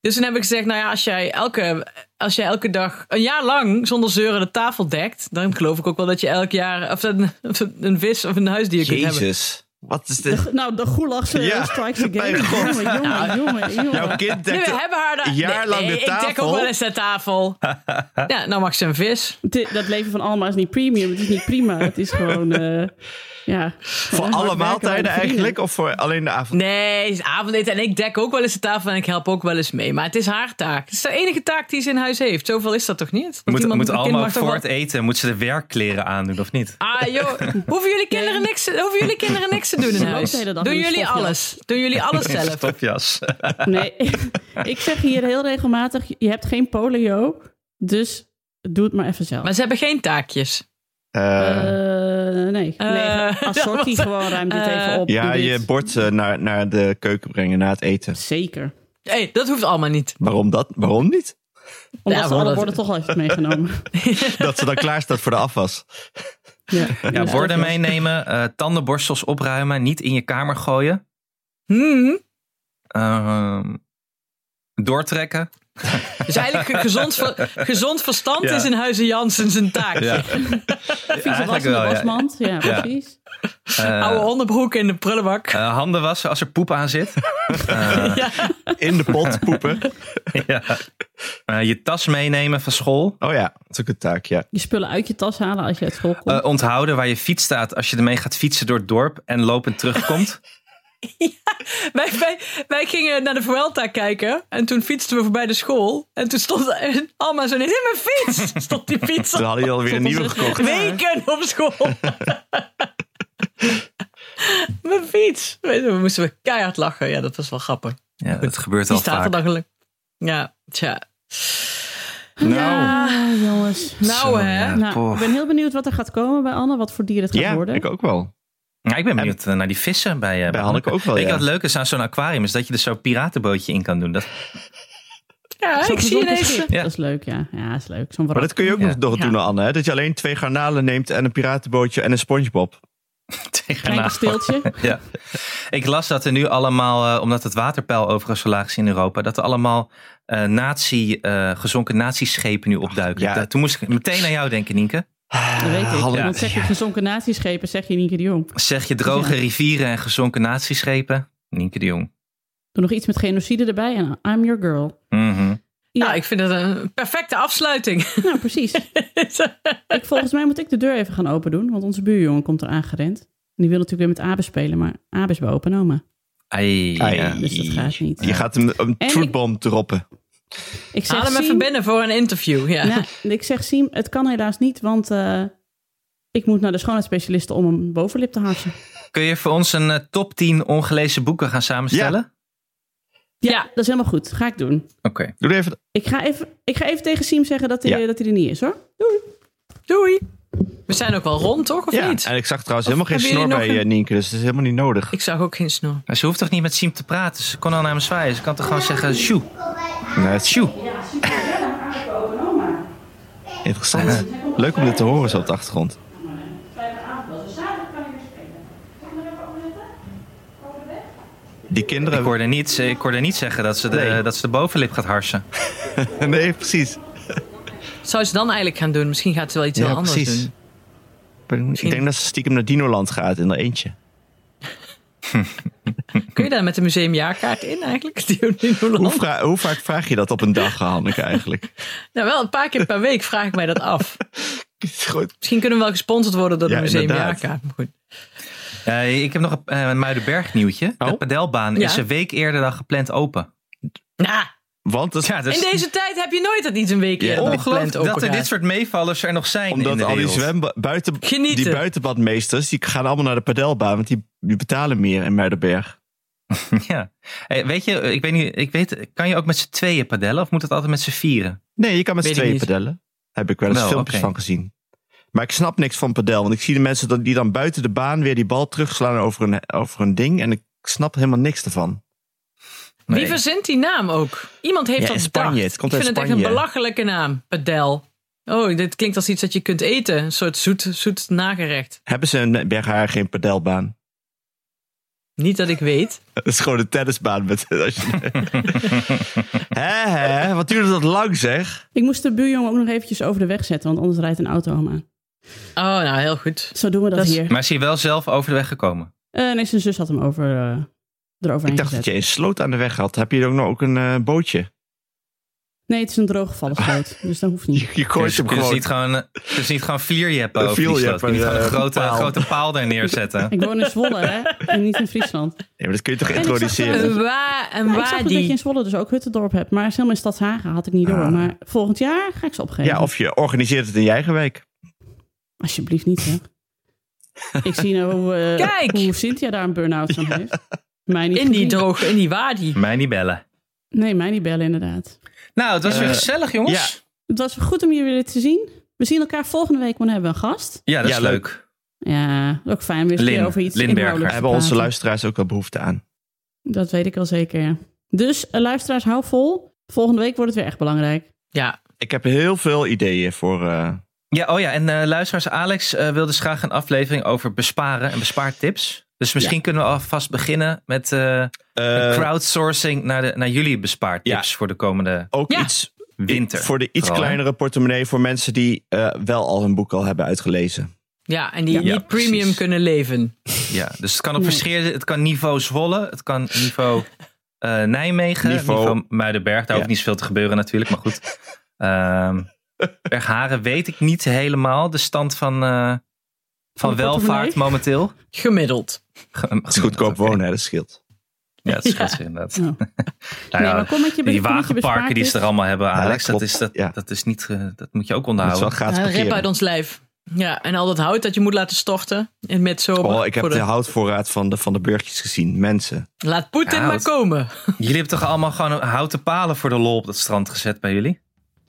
B: Dus toen heb ik gezegd: Nou ja, als jij elke, als jij elke dag een jaar lang zonder zeuren de tafel dekt. dan geloof ik ook wel dat je elk jaar of een, of een vis of een huisdier kunt hebben.
D: Jezus. Wat is dit?
A: Nou, de goelag eh,
D: Ja,
A: strikes
D: (laughs)
A: again.
D: mijn god. Nou,
A: Jongen, jongen, jongen, jongen.
D: Jouw kind
B: Nee,
D: denkt...
B: we hebben haar daar.
D: een jaar
B: nee,
D: lang
B: nee,
D: de
B: Ik dek ook
D: tafel.
B: wel eens de
D: (laughs)
B: tafel. ja, nou mag ze een vis.
A: Dit- dat leven van Alma is niet premium. Het is niet prima. Het is gewoon... eh, ja,
D: voor alle maaltijden eigenlijk? Of voor alleen de avond?
B: Nee, het is avondeten. En ik dek ook wel eens de tafel en ik help ook wel eens mee. Maar het is haar taak. Het is de enige taak die ze in huis heeft. Zoveel is dat toch niet? Dat
C: Moet,
B: iemand-
C: moet
B: een kind
C: allemaal
B: mag toch
C: voor
B: wel-
C: het eten, moet ze de werkkleren aandoen of niet?
B: Ah joh, hoeven jullie kinderen niks, hoeven jullie kinderen niks te doen in
A: loopt
B: huis?
A: de hele dag
B: Doen
A: in een
B: jullie
A: stofjas.
B: alles? Doen
C: (laughs)
B: jullie alles zelf? (laughs)
C: Stofjas.
A: Nee, (laughs) ik zeg hier heel regelmatig... je hebt geen polio, dus doe het maar even zelf.
B: Maar ze hebben geen taakjes.
D: Eh,
A: Eh, nee.
B: Eh,
A: nee, assortie
B: dat was-
A: gewoon ruim dit
B: eh,
A: even op.
D: ja,
A: doe dit.
D: je bord eh, naar, naar de keuken brengen na het eten.
A: Zeker.
B: Hé, hey, dat hoeft allemaal niet.
D: Waarom, dat? Waarom niet?
A: Omdat
B: Ja,
A: ze alle
B: omdat-
A: borden toch al heeft meegenomen.
D: Dat ze dan klaar staat voor de afwas.
A: ja,
C: Ja,
A: Dus
C: borden
A: dat-
C: meenemen, eh, tandenborstels opruimen, niet in je kamer gooien.
B: Hmm.
C: Ehm, doortrekken.
B: Dus eigenlijk een gezond, ver- gezond verstand
C: Ja.
B: is in huizen Jansen zijn taakje.
A: Vieze was in de
C: ja.
A: wasmand. Ja,
C: Ja.
A: precies.
B: (laughs)
C: Eh,
B: Oude onderbroek in de prullenbak.
C: eh, handen wassen als er poep aan
B: (laughs)
C: zit. Eh,
B: Ja.
D: In de pot poepen.
C: ja. Eh, je tas meenemen van school. Eh,
D: Oh ja, dat is ook een taak, ja.
A: Je spullen uit je tas halen als je uit school komt.
C: Eh, onthouden waar je fiets staat als je ermee gaat fietsen door het dorp en
B: (laughs)
C: lopend terugkomt.
B: Wij, wij, wij gingen naar de Vuelta kijken. En toen fietsten we voorbij de school. En toen stond Alma zo ineens in mijn fiets. (laughs) Stond die fiets
D: Toen
B: al
D: hadden jullie alweer een nieuwe
A: ons het-
D: gekocht.
B: weken op school. (laughs) mijn fiets. Weet je, We moesten we keihard lachen. Ja, dat was wel grappig.
C: Ja, dat gebeurt
B: Die
C: al
B: staat er
C: vaak.
B: dan gelukkig. Ja, tja.
D: Nou,
A: Ah, jongens.
B: Nou,
C: Zo,
B: hè?
C: ja.
A: Nou,
C: Ah, poh.
A: ik ben heel benieuwd wat er gaat komen bij Anne. Wat voor dier het gaat
D: ja,
A: worden.
D: ik ook wel.
C: Ja, ik ben benieuwd eh, naar die vissen bij, eh, bij,
D: Hanneke ook wel,
C: Weet je
D: ja.
C: wat leuk is aan zo'n aquarium? Is dat je er zo'n piratenbootje in kan doen. Dat,
B: Ja,
A: Zo'n
B: ik zie
A: gezond
B: ineens...
A: gezicht, Dat is leuk, ja. Ja, is leuk. Zo'n
D: Maar dat kun je ook
C: Ja.
D: nog nog
B: Ja.
D: doen, Anne. Hè? Dat je alleen twee garnalen neemt en een piratenbootje en een SpongeBob.
C: tegen
A: klein
D: (laughs)
A: kasteeltje.
C: Ja. Ik las dat er nu allemaal, eh, omdat het waterpeil overigens zo laag is in Europa, dat er allemaal eh, nazi, eh, gezonken natieschepen nu opduiken.
D: ja.
C: Da- toen moest ik meteen aan jou denken, Nienke.
A: Dat weet ik.
D: Hallo.
A: Want zeg je gezonken natieschepen, zeg je Nienke de Jong.
C: Zeg je droge
A: Ja.
C: rivieren en gezonken natieschepen? Nienke de Jong.
A: Doe nog iets met genocide erbij en I'm your girl.
C: Mhm.
A: Ja,
B: Nou, ik vind dat een perfecte afsluiting. (laughs)
A: (laughs) nou, precies. ik, volgens mij moet ik de deur even gaan open doen, want onze buurjongen komt er aangerend. En die wil natuurlijk weer met Abes spelen, maar Abes is bij opa en oma.
C: Ai,
D: Ai.
C: ja.
A: Dus dat gaat niet.
D: Je gaat hem een
A: En
D: truthbomb droppen.
A: Ik zeg,
B: Haal hem even
A: Siem-
B: binnen voor een interview. Ja.
A: Nou, ik zeg Siem, het kan helaas niet, want eh, ik moet naar de schoonheidsspecialisten om een bovenlip te harsen.
C: Kun je voor ons een eh, top 10 ongelezen boeken gaan samenstellen?
A: Ja,
B: Ja.
A: dat is helemaal goed. Ga ik doen.
C: Oké.
D: Doe er even.
A: Ik ga even, ik ga even tegen Siem zeggen dat hij, eh,
D: Ja.
A: dat hij er niet is, hoor.
B: Doei. We zijn ook wel rond, toch? Of
D: Ja,
B: niet?
D: en ik zag trouwens helemaal geen
B: hebben jullie
D: snor bij
B: nog een-
D: eh, Nienke, dus dat is helemaal niet nodig.
B: Ik zag ook geen snor.
C: Maar ze hoeft toch niet met Siem te praten? Ze kon al naar hem zwaaien. Ze kan toch gewoon zeggen, sjoe,
D: Nee, het is
C: sjoe.
D: interessant. Leuk om dit te horen zo op de achtergrond. Die
C: Ik
D: kinderen.
C: hoorde niet, ik hoorde niet zeggen dat ze, de,
D: Nee.
C: dat ze de bovenlip gaat harsen.
D: (laughs) Nee, precies.
B: Zou ze dan eigenlijk gaan doen? Misschien gaat ze wel iets heel anders doen.
D: Ik denk dat ze stiekem naar Dinoland gaat in haar eentje.
B: Kun je daar met de museumjaarkaart in eigenlijk? (laughs) Die in Holland?
D: Hoe, vra- hoe vaak vraag je dat op een dag, Hanneke, eigenlijk?
B: Nou, wel een paar keer per week vraag ik mij dat af.
D: Goed.
B: Misschien kunnen we wel gesponsord worden door de
D: Ja,
B: museumjaarkaart. Maar goed.
C: Eh, ik heb nog een, eh, een Muidenberg nieuwtje. De
D: Oh.
C: padelbaan
B: Ja.
C: is een week eerder dan gepland open.
B: Nou,
D: Want het,
C: Ja, dat
B: in
C: is
B: deze tijd heb je nooit dat iets een weekje
D: Ja,
B: ja,
C: ongelooflijk
B: open
C: Dus- dat er
B: gaat.
C: dit soort meevallers er nog zijn in
D: omdat
C: de
D: al die,
C: wereld.
D: zwemba- buiten,
B: Genieten.
D: die buitenbadmeesters die gaan allemaal naar de padelbaan, want die, die betalen meer in Muidenberg.
C: (laughs) Ja. Eh, weet je, ik weet niet, ik weet, kan je ook met z'n tweeën padellen of moet het altijd met z'n vieren?
D: Nee, je kan met z'n
B: Weet ik
D: tweeën
B: niet.
D: padellen. Daar heb ik wel eens
C: Wel,
D: filmpjes
C: oké.
D: van gezien. Maar ik snap niks van padel, want ik zie de mensen dat- die dan buiten de baan weer die bal terugslaan over een, over een ding en ik snap helemaal niks ervan.
C: Nee.
B: Wie verzint die naam ook? Iemand heeft
D: Ja,
B: dat
D: in Spanje.
B: bedacht.
D: Het komt
B: ik
D: uit
B: vind het echt
D: Spanje.
B: een belachelijke naam. Padel. Oh, dit klinkt als iets dat je kunt eten. Een soort zoet, zoet nagerecht.
D: Hebben ze in Berghaar geen padelbaan?
B: Niet dat ik weet.
D: (laughs) Dat is gewoon een tennisbaan. Met, (laughs) als je, hè, hè, wat duurde dat lang zeg?
A: Ik moest de buurjongen ook nog eventjes over de weg zetten, want anders rijdt een auto hem aan.
B: Oh, nou, heel goed.
A: Zo doen we dat,
B: Dat is-
A: hier.
C: Maar is hij wel zelf over de weg gekomen?
A: Eh, nee, zijn zus had hem over, eh
D: Ik
A: eroverheen
D: dacht
A: gezet.
D: dat je een sloot aan de weg had. Heb je dan ook nog ook een eh, bootje?
A: Nee, het is een drooggevallen groot, dus dat hoeft niet.
D: (laughs) (laughs) Je, je gooit
C: Dus,
D: hem
C: kunnen ze
D: gewoon.
C: niet gewoon, eh, kunnen ze niet gewoon vlierjeppen
D: Een
C: over die sloot?
D: vlierjeppen,
C: Kunnen ze niet gewoon een
D: eh,
C: grote
D: paal.
C: paal, grote paal daar
D: (laughs)
C: neerzetten?
A: Ik woon in Zwolle, hè? En niet in Friesland.
D: Nee, maar dat kun je toch
A: ik zag
D: introduceren?
B: Een waar, een
A: Nou, ik zag
B: waar
A: dus dat je in
B: die.
A: Zwolle dus ook Huttendorp hebt. Maar helemaal in Stadshagen had ik niet door.
D: Ah.
A: Maar volgend jaar ga ik ze opgeven.
D: Ja, of je organiseert het in je eigen wijk.
A: Alsjeblieft niet, hè. ik zie nou hoe, eh,
B: Kijk!
A: hoe Cynthia daar een burn-out van heeft. Mij niet
B: In die
A: gezien.
B: droge, in die wadi.
C: Mij niet bellen.
A: Nee, mij niet bellen inderdaad.
C: Nou, het was weer
D: Eh,
C: gezellig, jongens.
A: Het was goed om jullie weer te zien. We zien elkaar volgende week, want dan hebben we een gast.
C: Ja, dat
D: Ja,
C: is
D: leuk.
C: leuk.
A: Ja, ook fijn weer eens
C: Lin-
A: een keer over iets
C: Lindberger.
A: inhoudelijks te
D: Hebben onze
A: praten.
D: luisteraars ook wel behoefte aan.
A: Dat weet ik wel zeker, ja. Dus eh, luisteraars, hou vol. Volgende week wordt het weer echt belangrijk.
C: Nou
B: Ja,
D: Ik heb heel veel ideeën voor. eh,
C: Ja, oh ja, en eh, luisteraars, Alex eh, wil dus graag een aflevering over besparen en bespaartips. Dus misschien kunnen we alvast beginnen met eh,
D: eh,
C: crowdsourcing naar, de, naar jullie bespaartips voor de komende
D: ook
B: Ja.
D: iets
C: winter.
D: voor de iets
C: Vooral, hè?
D: kleinere portemonnee voor mensen die eh, wel al hun boek al hebben uitgelezen.
B: ja en die
A: Ja.
B: niet
C: Ja,
B: premium
C: precies.
B: kunnen leven.
C: Ja, dus het kan op
A: Nee.
C: verschillende, het kan niveau Zwolle, het kan niveau eh, Nijmegen, niveau,
D: Niveau-
C: Muidenberg. Daar
D: Ja.
C: hoeft niet zoveel te gebeuren natuurlijk, maar goed.
D: (laughs)
C: Ehm Bergharen weet ik niet helemaal de stand van, eh, van
A: de
C: welvaart
A: portemonnee?
C: momenteel.
B: Gemiddeld.
C: (laughs)
D: Het is goedkoop wonen, hè, dat scheelt.
C: Ja, dat scheelt inderdaad.
A: Nou.
C: (laughs) Nou
A: nee,
C: ja,
A: maar kom met je
C: Die
A: kom met je
C: wagenparken die ze
A: bespaartips.
C: er allemaal hebben,
D: dat
C: Alex, dat,
D: klopt.
C: is, dat,
D: Ja.
C: dat, is niet, eh, dat moet je ook
D: Dat is wel
C: onderhouden.
D: gratis
B: Een Nou, rip
D: parkeren.
B: Eh, uit ons lijf. Ja, en al dat hout dat je moet laten storten in midzomer.
D: Oh, ik heb
B: Voor
D: de...
B: de-
D: houtvoorraad van de, van de burgjes gezien. Mensen.
B: Laat Poetin
C: Hout.
B: maar komen.
C: Jullie hebben toch allemaal gewoon houten palen voor de lol op dat strand gezet bij jullie?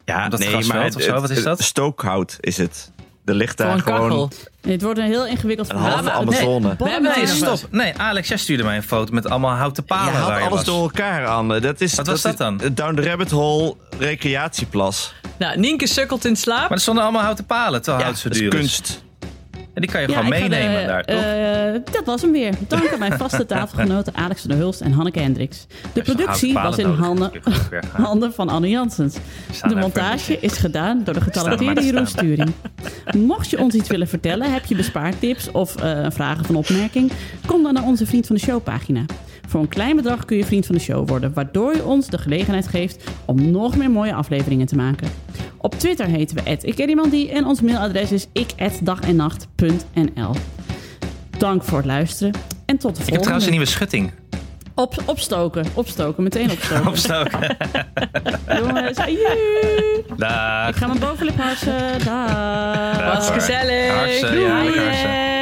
C: Ja,
D: Omdat
C: nee,
D: het gas
C: maar
D: smelt
C: het- het-
D: Wat is dat?
C: het
D: Stookhout is het. Er ligt
B: Voor
D: daar
B: een
D: gewoon
B: kachel.
A: Dit wordt een heel ingewikkeld
D: een
A: verhaal.
D: halve
B: maar-
D: Amazone.
A: Bon,
B: We hebben
A: nee,
B: deze
A: dat
B: stop.
C: Stop. Nee, Alex, jij stuurde mij een foto met allemaal houten
D: Je
C: palen
D: haalt
C: waar je
D: alles
C: was.
D: door elkaar aan. Dat is,
C: Wat was dat dan?
D: is Down the Rabbit Hole recreatieplas.
B: Nou, Nienke sukkelt in slaap.
C: Maar er stonden allemaal houten palen, terwijl hout zo
D: dat is
C: duur is.
D: kunst.
C: En die kan je
A: Ja,
C: gewoon
A: ik ga de-
C: meenemen daar, toch?
A: eh, dat was hem weer. Dank aan mijn vaste tafelgenoten Alex van der Hulst en Hanneke Hendricks. De
C: zo'n
A: productie was
C: houten
A: in
C: palen nodig.
A: handen,
C: Ik moet weer gaan.
A: (laughs) handen van Anne Janssens.
C: staan
A: De
C: daar
A: montage
C: voor
A: is gedaan door de getalenteerde
C: Staan
A: Jeroen
C: maar te
A: Sturing. Mocht je ons iets willen vertellen, heb je bespaartips of eh, vragen van opmerking, kom dan naar onze Vriend van de Show pagina. Voor een klein bedrag kun je Vriend van de Show worden, waardoor je ons de gelegenheid geeft om nog meer mooie afleveringen te maken. Op Twitter heten we ikkenniemandie en ons mailadres is ik@dagennacht.nl. Dank voor het luisteren en tot de
C: Ik heb
A: volgende.
C: trouwens een nieuwe
A: (laughs)
C: schutting
A: Op, opstoken, opstoken, meteen
C: (laughs)
A: opstoken.
C: opgestoken.
A: Jongens, ajoe.
C: Daag.
A: Ik ga mijn bovenlip harsen. Daag.
B: Was gezellig.
C: Harsen, ja,
B: Doei.
C: lekker harsen.